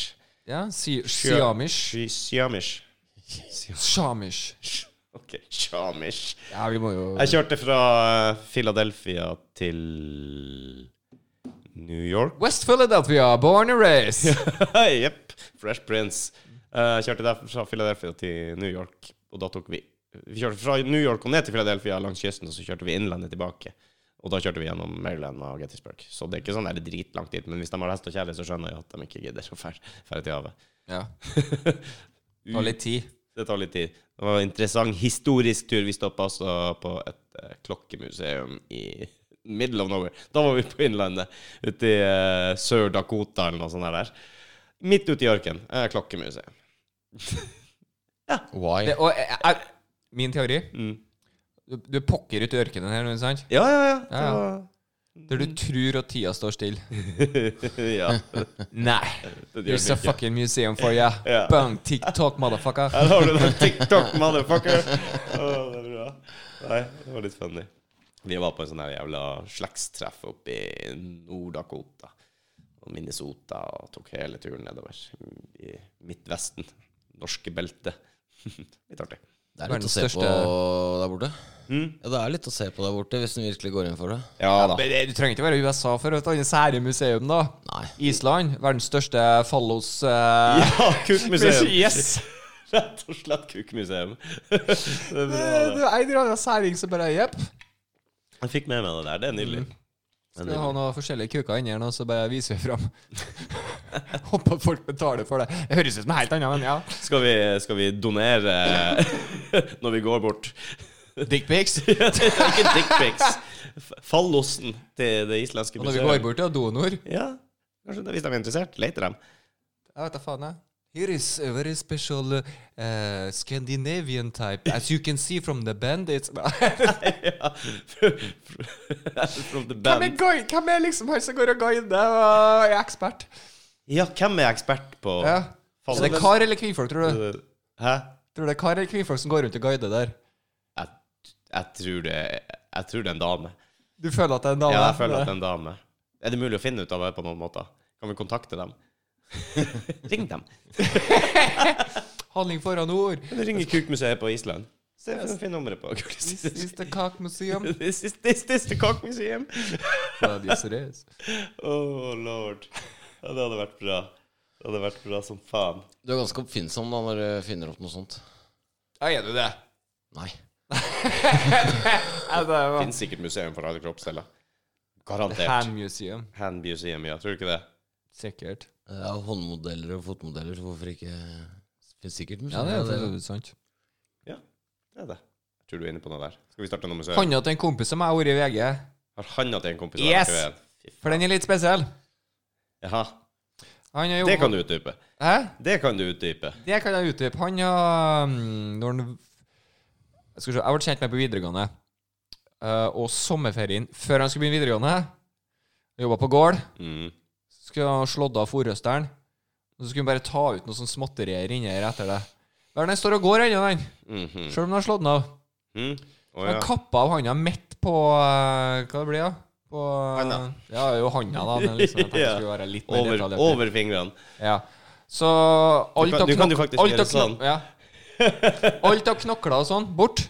[SPEAKER 2] Ja, si,
[SPEAKER 1] Sjø-
[SPEAKER 2] Siamish.
[SPEAKER 1] Sj- Siamish.
[SPEAKER 2] Shamish.
[SPEAKER 1] Sj- [laughs] OK, sjamish.
[SPEAKER 2] Ja, vi må jo
[SPEAKER 1] Jeg kjørte fra eh, Philadelphia til New York.
[SPEAKER 2] West Philadelphia, born and raised.
[SPEAKER 1] [laughs] Jepp. Fresh Prince. Eh, Jeg kjørte der fra Philadelphia til New York, og da tok vi Vi kjørte fra New York og ned til Philadelphia langs kysten, og så kjørte vi innlandet tilbake. Og da kjørte vi gjennom Maryland og Gettysburg. Så det er ikke sånn der dritlangt dit. Men hvis de har hest og kjære, så skjønner jeg at de ikke gidder å dra til havet.
[SPEAKER 2] Ja.
[SPEAKER 1] [laughs]
[SPEAKER 2] Det var litt tid.
[SPEAKER 1] Det tar litt tid. Det var en interessant historisk tur. Vi stoppa altså på et eh, klokkemuseum i middle of nowhere. Da var vi på Innlandet, ute i eh, Sør-Dakota eller noe sånt der. Midt ute i ørkenen. Eh, klokkemuseum.
[SPEAKER 4] Why?
[SPEAKER 2] Det, og jeg, jeg, min teori
[SPEAKER 1] Mm.
[SPEAKER 2] Du, du er pokker ut i ørkenen her, ikke sant?
[SPEAKER 1] Ja, ja, ja. [laughs]
[SPEAKER 2] Ja, Der
[SPEAKER 1] Mm.
[SPEAKER 2] du tror at tida står stille.
[SPEAKER 1] ja.
[SPEAKER 2] Nei.
[SPEAKER 1] Det gjør
[SPEAKER 2] There's a
[SPEAKER 1] det ikke.
[SPEAKER 2] fucking museum for you.
[SPEAKER 1] Ja.
[SPEAKER 2] Bang, TikTok, motherfucker.
[SPEAKER 1] Her har du den TikTok, motherfucker. Å, det er bra. Nei, det var litt funny. Vi var på en sånn her jævla slektstreff oppe i Nord-Dakota og Minnesota og tok hele turen nedover i Midtvesten. Norske belte. [laughs] Litt artig.
[SPEAKER 3] Det er litt å
[SPEAKER 2] Verdens
[SPEAKER 3] se på
[SPEAKER 2] største-
[SPEAKER 3] der borte.
[SPEAKER 1] Mm.
[SPEAKER 3] Ja, det er litt å se på der borte, hvis en virkelig går inn for det.
[SPEAKER 1] Ja da.
[SPEAKER 2] Men det- Du trenger ikke være i USA for å ta inn sære museum, da.
[SPEAKER 3] Nei.
[SPEAKER 2] Island, verdens største fallos... eh,
[SPEAKER 1] Ja, [laughs] kukmuseum.
[SPEAKER 2] Yes!
[SPEAKER 1] Rett og slett kukmuseum. [laughs] Det er bra,
[SPEAKER 2] [laughs] Eh,
[SPEAKER 1] det.
[SPEAKER 2] Du er en eller annen særing som bare Jepp.
[SPEAKER 1] Jeg fikk med meg det der. Det er nydelig. Det er
[SPEAKER 2] Mm. Skal vi ha
[SPEAKER 1] nydelig.
[SPEAKER 2] noen forskjellige kuker inni her nå, så bare viser vi fram. [laughs] Håper folk betaler for det. Det høres ut som noe helt annet, men ja.
[SPEAKER 1] Skal vi, skal vi donere [laughs] når vi går bort?
[SPEAKER 2] Dickpics.
[SPEAKER 1] [laughs] Ja, det er ikke dickpics. F- Fallosen til det islandske
[SPEAKER 2] Og når
[SPEAKER 1] museet.
[SPEAKER 2] vi går bort til donor
[SPEAKER 1] Ja, kanskje det, Hvis de er interessert, leter
[SPEAKER 2] [laughs]
[SPEAKER 1] dem.
[SPEAKER 2] Jeg vet da faen, jeg. Here is a very special uh, Scandinavian type. As you can see from the band, it's [laughs]
[SPEAKER 1] ja. [laughs] From the
[SPEAKER 2] Hvem er,
[SPEAKER 1] band.
[SPEAKER 2] gui- hvem er liksom han som går og guider og er ekspert?
[SPEAKER 1] Ja, hvem er ekspert på
[SPEAKER 2] Ja.
[SPEAKER 1] fallos?
[SPEAKER 2] Er det kar eller kvinnfolk, tror du?
[SPEAKER 1] Hæ?
[SPEAKER 2] Tror du det er kar eller kvinnfolk som går rundt og guider der?
[SPEAKER 1] Jeg, jeg, tror det, jeg tror det er en dame.
[SPEAKER 2] Du føler at det er en dame?
[SPEAKER 1] Ja, jeg føler at det er en dame. Er det mulig å finne ut av det på noen måter? Kan vi kontakte
[SPEAKER 2] [laughs]
[SPEAKER 1] dem? Ring dem.
[SPEAKER 2] Handling foran ord.
[SPEAKER 1] Ring Kukmuseet på Island. Se, Finn nummeret på
[SPEAKER 2] This
[SPEAKER 1] [laughs]
[SPEAKER 2] is the cock museum.
[SPEAKER 1] This is this, this the cock museum.
[SPEAKER 2] Well, yes, it is.
[SPEAKER 1] Oh lord. Ja, det hadde vært bra. Det hadde vært bra som faen.
[SPEAKER 3] Du er ganske oppfinnsom da når du finner opp noe sånt.
[SPEAKER 2] Ja, er du det?
[SPEAKER 3] Nei.
[SPEAKER 2] Ja, det var
[SPEAKER 1] Fins sikkert museum for alle kroppsdeler. Garantert.
[SPEAKER 2] Hand museum.
[SPEAKER 1] Hand museum, ja. Tror du ikke det?
[SPEAKER 2] Sikkert.
[SPEAKER 3] Ja, håndmodeller og fotmodeller, hvorfor ikke Finnes sikkert museum.
[SPEAKER 2] Ja, det er
[SPEAKER 3] det.
[SPEAKER 2] jo sant.
[SPEAKER 1] Det er det. Jeg tror du er inne på noe der. Skal vi starte noe museum?
[SPEAKER 2] Handa til en kompis som jeg har vært i VG,
[SPEAKER 1] Har han hatt en kompis? som
[SPEAKER 2] Yes!
[SPEAKER 1] har vært i VM? Fy faen.
[SPEAKER 2] for den er litt spesiell.
[SPEAKER 1] Jaha.
[SPEAKER 2] Han har
[SPEAKER 1] Det
[SPEAKER 2] jobbet-
[SPEAKER 1] kan du utdype.
[SPEAKER 2] Hæ?
[SPEAKER 1] Det kan du utdype.
[SPEAKER 2] Det kan jeg utdype. Han har mm, Når han Jeg skal se, jeg ble kjent med på videregående. Eh, og sommerferien før han skulle begynne videregående Jobba på gård.
[SPEAKER 1] Mm.
[SPEAKER 2] Skulle ha slått av forhøsteren. Og så skulle han bare ta ut noe sånn småtterier inni her etter det. Men den står og går ennå, den.
[SPEAKER 1] Mhm.
[SPEAKER 2] Sjøl om den har slått den av.
[SPEAKER 1] Mm. Å,
[SPEAKER 2] Han
[SPEAKER 1] ja.
[SPEAKER 2] kappa av handa midt på eh, Hva det blir det? På eh,
[SPEAKER 1] Handa.
[SPEAKER 2] Ja, jo, handa, da.
[SPEAKER 1] [laughs]
[SPEAKER 2] Men liksom, jeg tenkte det
[SPEAKER 1] Ja.
[SPEAKER 2] skulle være litt mer
[SPEAKER 1] Over,
[SPEAKER 2] detaljert.
[SPEAKER 1] over fingrene. [laughs]
[SPEAKER 2] Ja. Så
[SPEAKER 1] Du
[SPEAKER 2] alt
[SPEAKER 1] kan-
[SPEAKER 2] av
[SPEAKER 1] du kan
[SPEAKER 2] knok-
[SPEAKER 1] jo faktisk
[SPEAKER 2] alt
[SPEAKER 1] gjøre [laughs]
[SPEAKER 2] av knok-
[SPEAKER 1] sånn.
[SPEAKER 2] Ja. Alt av knokler og sånn, bort.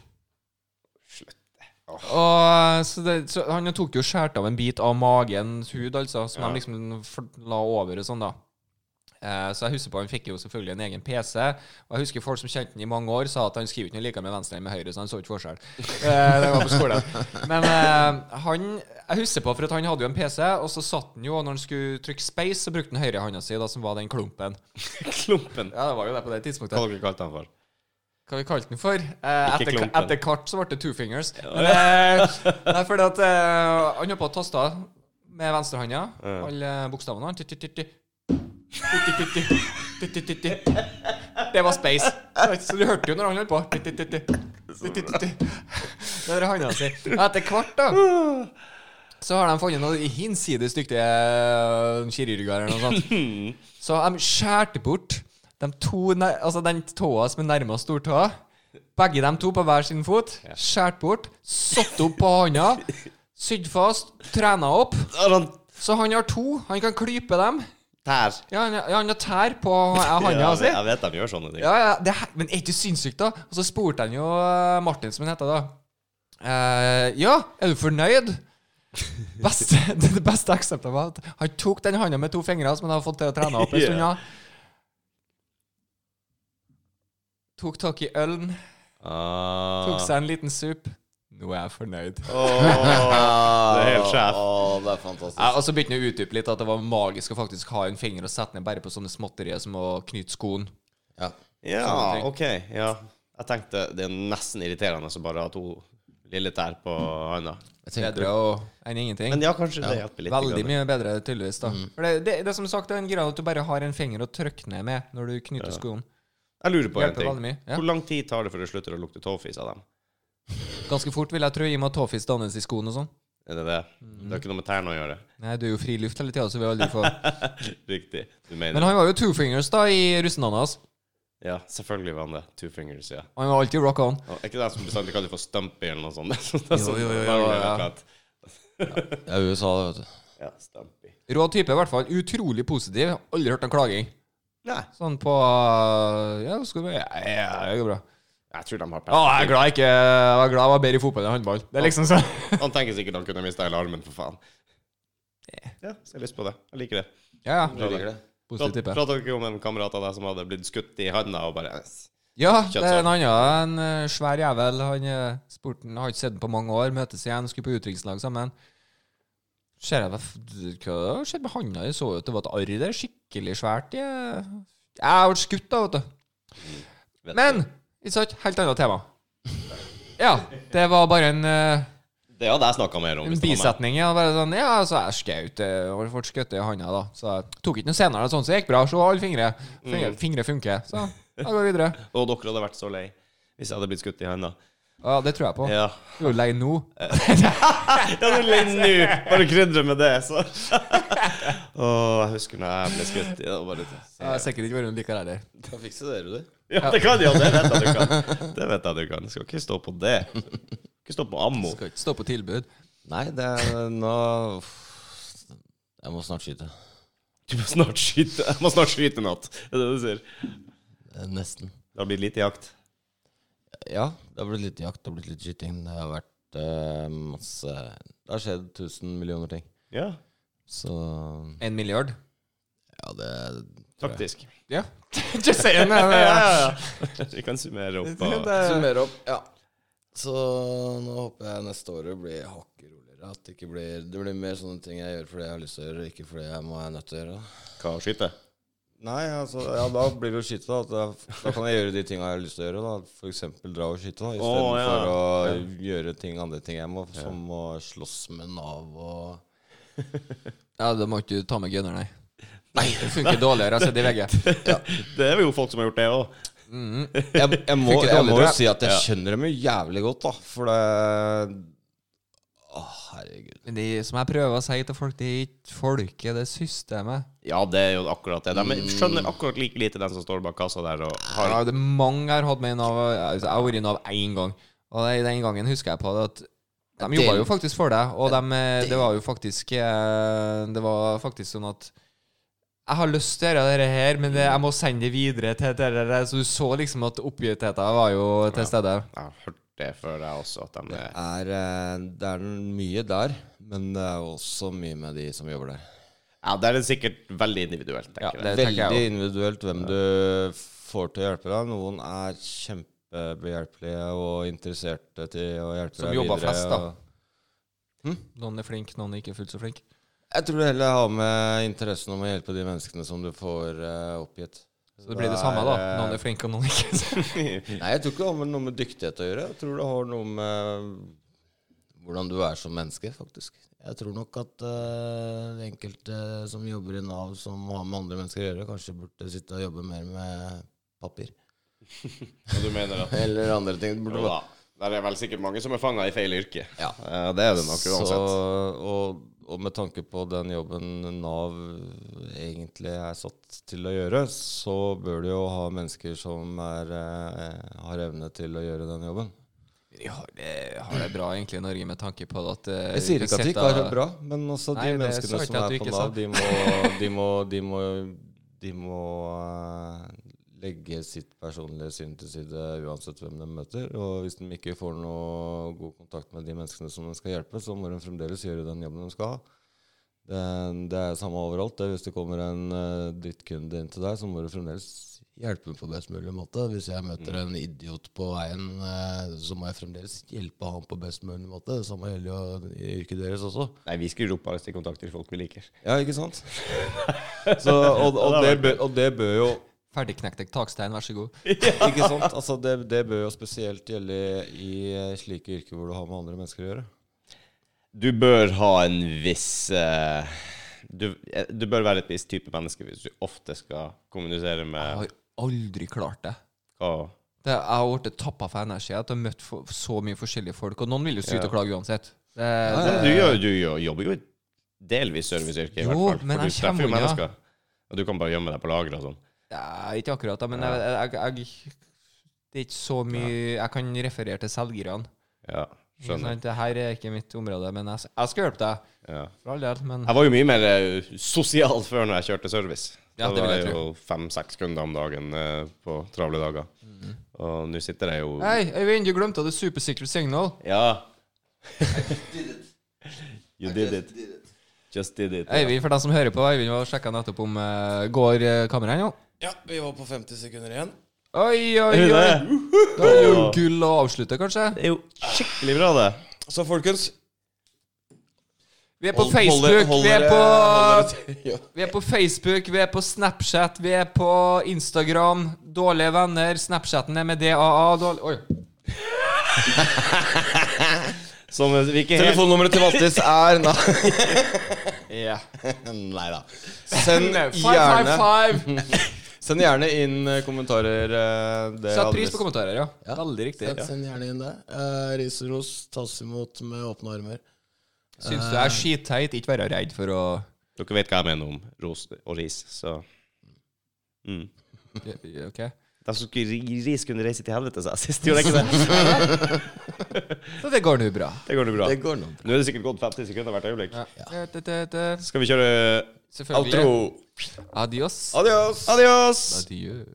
[SPEAKER 2] Og, eh, så, det, så han tok jo skjært av en bit av magens hud, altså, som
[SPEAKER 1] Ja.
[SPEAKER 2] de liksom f- la over og sånn, da. Eh, så jeg husker på Han fikk jo selvfølgelig en egen PC. Og jeg husker folk som kjente han i mange år, sa at han skriver ikke noe likere med venstre enn med høyre, så han så ikke [laughs] forskjell. Eh, det var på skolen. Men eh, han Jeg husker på for at han hadde jo en PC, og så satt han jo, og når han skulle trykke space, så brukte han høyrehånda si, da, som var den klumpen.
[SPEAKER 1] Klumpen.
[SPEAKER 2] Ja, det var jo det på det tidspunktet
[SPEAKER 1] Hva dere kalte han for?
[SPEAKER 2] hva vi kalte den for. Eh,
[SPEAKER 1] Ikke
[SPEAKER 2] etter,
[SPEAKER 1] klumpen.
[SPEAKER 2] etter hvert så ble det two fingers. Men, eh, det er fordi at eh, han jobba og tasta med venstrehånda. Alle bokstavene. Ti, ti, ti, ti. Ti, ti, ti, ti. Ti, ti, ti, ti. Det var space. Så du hørte jo når han holdt på. Ti, ti, ti, ti. Ti, ti, ti, ti. Det er hånda si. Etter hvert, da så har de funnet noen hinsides dyktige eh, kirurger eller noe sånt. Så de skjærte bort de to, nær- altså den tåa som er nærmest stortåa. Begge de to på hver sin fot. Skjært bort. Satt opp på hånda. Sydd fast. Trena opp.
[SPEAKER 1] Der han
[SPEAKER 2] Så han har to. Han kan klype dem.
[SPEAKER 1] tær.
[SPEAKER 2] Ja, han, ja, han har tær på hånda
[SPEAKER 1] Ja,
[SPEAKER 2] si.
[SPEAKER 1] jeg vet de gjør sånne ting.
[SPEAKER 2] Ja, ja, det, her- men er ikke det sinnssykt, da? Og så spurte han jo eh, Martin, som han heter da. eh, ja, er du fornøyd? Beste, [laughs] det, det beste eksempelet var at han tok den handa med to fingre som han hadde fått til å trene opp en stund.
[SPEAKER 1] Ja.
[SPEAKER 2] da. Tok tak i ølen, tok
[SPEAKER 1] Ah.
[SPEAKER 2] seg en liten sup. Nå er jeg fornøyd.
[SPEAKER 1] Åh, [laughs] det er helt sjef.
[SPEAKER 3] Å, det er fantastisk.
[SPEAKER 2] Ja, og så begynte han å utdype litt at det var magisk å faktisk ha en finger og sette ned bare på sånne småtterier som å knyte skoen.
[SPEAKER 3] Ja.
[SPEAKER 1] Ja,
[SPEAKER 2] Sånne ting.
[SPEAKER 1] OK. Ja. Jeg tenkte det er nesten irriterende å bare ha to lille tær på handa.
[SPEAKER 3] Jeg tenker,
[SPEAKER 2] Bedre å- enn ingenting.
[SPEAKER 1] Men ja, kanskje det hjelper litt.
[SPEAKER 2] Veldig mye bedre, tydeligvis. da
[SPEAKER 3] Mm.
[SPEAKER 2] For det, det, det er som sagt det er en greie at du bare har en finger å trykke ned med når du knytter skoen.
[SPEAKER 1] Jeg lurer på en
[SPEAKER 2] Hjelper
[SPEAKER 1] ting.
[SPEAKER 2] veldig mye, ja.
[SPEAKER 1] Hvor lang tid tar det før det slutter å lukte tåfis av dem?
[SPEAKER 2] Ganske fort, vil jeg tro, i og med at tåfis dannes i skoen og sånn.
[SPEAKER 1] Er det det?
[SPEAKER 2] Mm.
[SPEAKER 1] Det har ikke noe med tærne å gjøre. [laughs]
[SPEAKER 2] Nei, du er jo fri luft hele tida, så vi aldri
[SPEAKER 3] [laughs]
[SPEAKER 2] få
[SPEAKER 1] Riktig. Du mener
[SPEAKER 2] Men han var jo two fingers da i russendana hans.
[SPEAKER 1] Ja, selvfølgelig var han det. Two fingers, ja.
[SPEAKER 2] Han var alltid rock on.
[SPEAKER 1] Og er ikke det som bestandig kaller for stumpy eller noe sånt? [laughs] Det er sånn- det er
[SPEAKER 2] Jo,
[SPEAKER 1] sånn-
[SPEAKER 2] jo, jo, jo,
[SPEAKER 1] det er
[SPEAKER 2] ja.
[SPEAKER 1] klart.
[SPEAKER 3] ja, USA, det, vet du.
[SPEAKER 1] Ja, stumpy.
[SPEAKER 2] Rå type, i hvert fall. Utrolig positiv. Aldri hørt han klaging.
[SPEAKER 1] Nei,
[SPEAKER 2] Sånn på øh, Ja, skal vi ja, ja, det går bra.
[SPEAKER 1] jeg tror de har
[SPEAKER 2] Å, jeg er glad jeg ikke Jeg var glad jeg var bedre i fotball enn håndball. Det er liksom sånn.
[SPEAKER 1] Han tenker sikkert han kunne mista hele armen, for faen. Ja, så jeg har lyst på det. Jeg liker det.
[SPEAKER 2] Ja,
[SPEAKER 3] Du
[SPEAKER 2] ja.
[SPEAKER 3] liker det?
[SPEAKER 2] Positiv type.
[SPEAKER 1] Prata dere om en kamerat av deg som hadde blitt skutt i handa og bare
[SPEAKER 2] Ja, det er
[SPEAKER 1] Kjøttsal.
[SPEAKER 2] en annen. En eh, svær jævel. Han eh, spurte han, har ikke sett den på mange år. Møtes igjen, skulle på utdrikningslag sammen. Ser jeg hva f- Hva skjedde med handa? Jeg så jo at det var et arr der. Skikkelig svært. Jeg, jeg ble skutt, da, vet du.
[SPEAKER 1] Vet
[SPEAKER 2] Men ikke sant? Helt annet tema. Ja, det var bare en, eh,
[SPEAKER 1] du. Det hadde jeg snakka mer om.
[SPEAKER 2] en
[SPEAKER 1] hvis det var meg.
[SPEAKER 2] bisetning. Ja, bare sånn, ja, så jeg skjøt eh, og ble skutt i handa, da. Så jeg tok ikke noe senere, sånn, så det gikk bra. Se alle fingre. Fingre,
[SPEAKER 1] Mm.
[SPEAKER 2] fingre funker. Så da går vi videre.
[SPEAKER 1] Og dere hadde vært så lei hvis jeg hadde blitt skutt i handa.
[SPEAKER 2] Ja, det tror jeg på.
[SPEAKER 1] Ja.
[SPEAKER 2] Du er jo lei nå.
[SPEAKER 1] Jeg hadde lei nå! Bare krydre med det, så. Åh, jeg husker når jeg ble skutt. i det var bare
[SPEAKER 2] Jeg har sikkert ikke vært noen likere heller.
[SPEAKER 3] Da fikser dere det.
[SPEAKER 1] Ja, det kan de, og det vet jeg du kan. Det vet jeg du kan. Skal ikke stå på det. Ikke stå på ammo.
[SPEAKER 2] Skal ikke stå på tilbud.
[SPEAKER 3] Nei, det er nå uff. Jeg må snart skyte.
[SPEAKER 1] Du må snart skyte. Jeg må snart skyte natt. Det er det du sier.
[SPEAKER 3] Eh, Nesten.
[SPEAKER 1] Det har blitt lite jakt.
[SPEAKER 3] Ja, det har blitt litt jakt, det har blitt litt skyting. Det har vært eh, masse Det har skjedd tusen millioner ting.
[SPEAKER 1] Ja,
[SPEAKER 3] Så
[SPEAKER 2] En milliard?
[SPEAKER 3] ja, det
[SPEAKER 1] faktisk.
[SPEAKER 2] [laughs] Ja. Just saying. men,
[SPEAKER 1] [laughs] Ja,
[SPEAKER 2] eh,
[SPEAKER 1] ja, ja. Vi kan summere opp. Og...
[SPEAKER 3] Summer opp. Ja. Så nå håper jeg neste året blir hakket roligere. At det ikke blir Det blir mer sånne ting jeg gjør fordi jeg har lyst til å gjøre, ikke fordi jeg må jeg er nødt til å gjøre. det.
[SPEAKER 1] Hva skyte?
[SPEAKER 3] Nei, altså, ja, da blir det å skyte, da. At jeg, da kan jeg gjøre de tinga jeg har lyst til å gjøre. da For eksempel dra og skyte, da istedenfor
[SPEAKER 1] Å, ja.
[SPEAKER 3] for å gjøre ting, andre ting jeg må, som å slåss med Nav og
[SPEAKER 2] Ja, da må ikke du ta med gunner, nei. Nei, det funker dårligere. Jeg har sett det i VG.
[SPEAKER 1] Det er jo folk som har gjort det òg.
[SPEAKER 3] jeg, jeg må,
[SPEAKER 2] Funker
[SPEAKER 3] jeg
[SPEAKER 2] dårlig,
[SPEAKER 3] må
[SPEAKER 2] tror
[SPEAKER 3] jo
[SPEAKER 2] jeg.
[SPEAKER 3] si at jeg
[SPEAKER 1] Ja.
[SPEAKER 3] skjønner dem jo jævlig godt, da. For det Å, herregud.
[SPEAKER 2] Men det som jeg prøver å si til folk, det er ikke folket, det er systemet.
[SPEAKER 1] Ja, det er jo akkurat det. De skjønner akkurat like lite den som står bak kassa der og har
[SPEAKER 2] Ja, det er mange jeg har hatt med i Nav. Altså, jeg har vært i Nav én gang, og det- den gangen husker jeg på det at de jobba jo faktisk for deg, og de, eh, det var jo faktisk eh, Det var faktisk sånn at jeg har lyst til å gjøre dette her, men det, jeg må sende det videre til dere. der». Så du så liksom at oppgittheten var jo til stede.
[SPEAKER 1] Jeg har hørt det før, jeg også, at de er
[SPEAKER 3] er, eh, det er mye der, men det er jo også mye med de som jobber der.
[SPEAKER 1] Ja, det er det sikkert veldig individuelt, tenker jeg.
[SPEAKER 2] det tenker
[SPEAKER 3] Veldig
[SPEAKER 2] jeg også.
[SPEAKER 3] individuelt hvem du får til å hjelpe deg. Noen er kjempebehjelpelige og interesserte til å hjelpe
[SPEAKER 2] Som
[SPEAKER 3] deg
[SPEAKER 2] jobber
[SPEAKER 3] videre.
[SPEAKER 2] flest, da.
[SPEAKER 3] og-
[SPEAKER 2] Noen er flink, noen er ikke fullt så flink.
[SPEAKER 3] Jeg tror du heller har med interessen om å hjelpe de menneskene som du får eh, oppgitt.
[SPEAKER 2] Så det blir det samme, da.
[SPEAKER 3] er, eh,
[SPEAKER 2] Noen er flink, og noen ikke. [laughs]
[SPEAKER 3] Nei, jeg tror ikke det har med noe med dyktighet å gjøre. Jeg tror det har noe med eh, hvordan du er som menneske, faktisk. Jeg tror nok at eh, de enkelte som jobber i Nav som har med andre mennesker å gjøre, kanskje burde sitte og jobbe mer med papir.
[SPEAKER 1] Du mener at
[SPEAKER 3] Eller andre ting. Burde
[SPEAKER 1] Jo da. Det er vel sikkert mange som er fanga i feil yrke.
[SPEAKER 3] Ja.
[SPEAKER 1] Eh, Det er det nok uansett.
[SPEAKER 3] Så, og, og med tanke på den jobben Nav egentlig er satt til å gjøre, så bør du jo ha mennesker som er, eh, har evne til å gjøre den jobben.
[SPEAKER 2] Vi har det, har det bra egentlig i Norge med tanke på at eh,
[SPEAKER 3] Jeg sier ikke at de ikke har det
[SPEAKER 2] setter-
[SPEAKER 3] bra, men altså de
[SPEAKER 2] Nei, det
[SPEAKER 3] menneskene
[SPEAKER 2] sa ikke
[SPEAKER 3] som
[SPEAKER 2] at
[SPEAKER 3] er
[SPEAKER 2] du
[SPEAKER 3] på
[SPEAKER 2] ikke
[SPEAKER 3] Nav,
[SPEAKER 2] sa.
[SPEAKER 3] de må, de må, de må, de må eh, legge sitt personlige syn til side uansett hvem de møter. Og hvis de ikke får noe god kontakt med de menneskene som de skal hjelpe, så må de fremdeles gjøre den jobben de skal ha. Det, det er samme overalt. Det. er Hvis det kommer en eh, drittkunde inn til deg, så må du fremdeles hjelpe på best mulig måte. Hvis jeg møter en idiot på veien, eh, så må jeg fremdeles hjelpe han på best mulig måte. Det samme gjelder jo i yrket deres også.
[SPEAKER 1] Nei, vi skrur opp bare stikkontakter folk vi liker.
[SPEAKER 3] Ja, ikke sant? Så, og, og, det bør, og det bør jo
[SPEAKER 2] Ferdigknekt takstein, vær så god.
[SPEAKER 3] Ikke sant? Altså, det, det bør jo spesielt gjelde i eh, slike yrker hvor du har med andre mennesker å gjøre.
[SPEAKER 1] Du bør ha en viss eh, du, eh, du bør være et visst type menneske hvis du ofte skal kommunisere
[SPEAKER 2] Jeg
[SPEAKER 1] med
[SPEAKER 2] har aldri klart det.
[SPEAKER 1] hva
[SPEAKER 2] det jeg har blitt tappa for energi. At jeg har møtt for, så mye forskjellige folk. Og noen vil jo syte
[SPEAKER 1] Ja.
[SPEAKER 2] og klage uansett. Det,
[SPEAKER 1] Men Du, gjør, du gjør, jobber jo i delvis serviceyrke, i
[SPEAKER 2] Jo,
[SPEAKER 1] hvert fall.
[SPEAKER 2] men
[SPEAKER 1] For
[SPEAKER 2] jeg
[SPEAKER 1] du treffer jo
[SPEAKER 2] kommer unna.
[SPEAKER 1] mennesker. Og du kan bare gjemme deg på lageret og sånn.
[SPEAKER 2] Ja, ikke akkurat, da, men jeg, jeg, jeg, det er ikke så mye Jeg kan referere til selgerne.
[SPEAKER 1] Ja,
[SPEAKER 2] Ikke
[SPEAKER 1] skjønner.
[SPEAKER 2] sant? Det her er ikke mitt område, men jeg, jeg skal hjelpe deg.
[SPEAKER 1] Ja.
[SPEAKER 2] For all del, men
[SPEAKER 1] Jeg var jo mye mer eh, sosial før når jeg kjørte service.
[SPEAKER 2] Ja, det
[SPEAKER 1] da
[SPEAKER 2] vil
[SPEAKER 1] var
[SPEAKER 2] jeg
[SPEAKER 1] jeg jo fem-seks kunder om dagen eh, på travle dager. Og nå sitter jeg jo
[SPEAKER 2] Mm. Hei, Øyvind, du glemte det super secret signal.
[SPEAKER 1] Ja. you did it. Just did it.
[SPEAKER 2] Øyvind, for dem som hører på, Øyvind var sjekka nettopp om eh, Går eh, kameraet nå?
[SPEAKER 4] Ja, vi var på 50 sekunder igjen.
[SPEAKER 2] Oi, oi,
[SPEAKER 1] Er det
[SPEAKER 2] oi!
[SPEAKER 1] det?
[SPEAKER 2] Da er det jo gull å avslutte, kanskje?
[SPEAKER 1] Det er jo skikkelig bra, det.
[SPEAKER 4] Så folkens
[SPEAKER 2] Vi er på
[SPEAKER 4] Hold- holder-
[SPEAKER 2] Facebook,
[SPEAKER 4] holder-
[SPEAKER 2] vi er på
[SPEAKER 4] holder dere til- ja.
[SPEAKER 2] Vi er på Facebook, vi er på Snapchat, vi er på Instagram. Dårlige venner. Snapchatten er med DAA. Dårlig... Oi.
[SPEAKER 1] Som vi ikke helt
[SPEAKER 3] Telefonnummeret til Mattis er [laughs]
[SPEAKER 2] Yeah.
[SPEAKER 3] Nei da. Send
[SPEAKER 2] Five,
[SPEAKER 3] gjerne,
[SPEAKER 2] five, [laughs] five.
[SPEAKER 3] send gjerne inn eh, kommentarer. eh, Det
[SPEAKER 2] Sett
[SPEAKER 3] adres-
[SPEAKER 2] pris på kommentarer, ja. Veldig riktig.
[SPEAKER 4] Send, send gjerne inn det. Eh, ris og ros tas imot med åpne armer.
[SPEAKER 2] Syns du jeg er skitteit, ikke være redd for å
[SPEAKER 1] Dere vet hva jeg mener om ros og ris, så mm.
[SPEAKER 2] OK?
[SPEAKER 1] De som skulle gi ris, kunne reise til helvete, sa jeg sist. Gjorde jeg ikke det?
[SPEAKER 2] Så det går nå bra.
[SPEAKER 1] Det går nå bra.
[SPEAKER 3] Det går nå.
[SPEAKER 1] Nå er det sikkert gått 50 sekunder hvert øyeblikk.
[SPEAKER 2] Ja. Det, det, det.
[SPEAKER 1] Skal vi kjøre
[SPEAKER 2] Selvfølgelig.
[SPEAKER 1] outro?
[SPEAKER 2] Adios.
[SPEAKER 3] Adios.
[SPEAKER 1] Adios!
[SPEAKER 2] Adieu.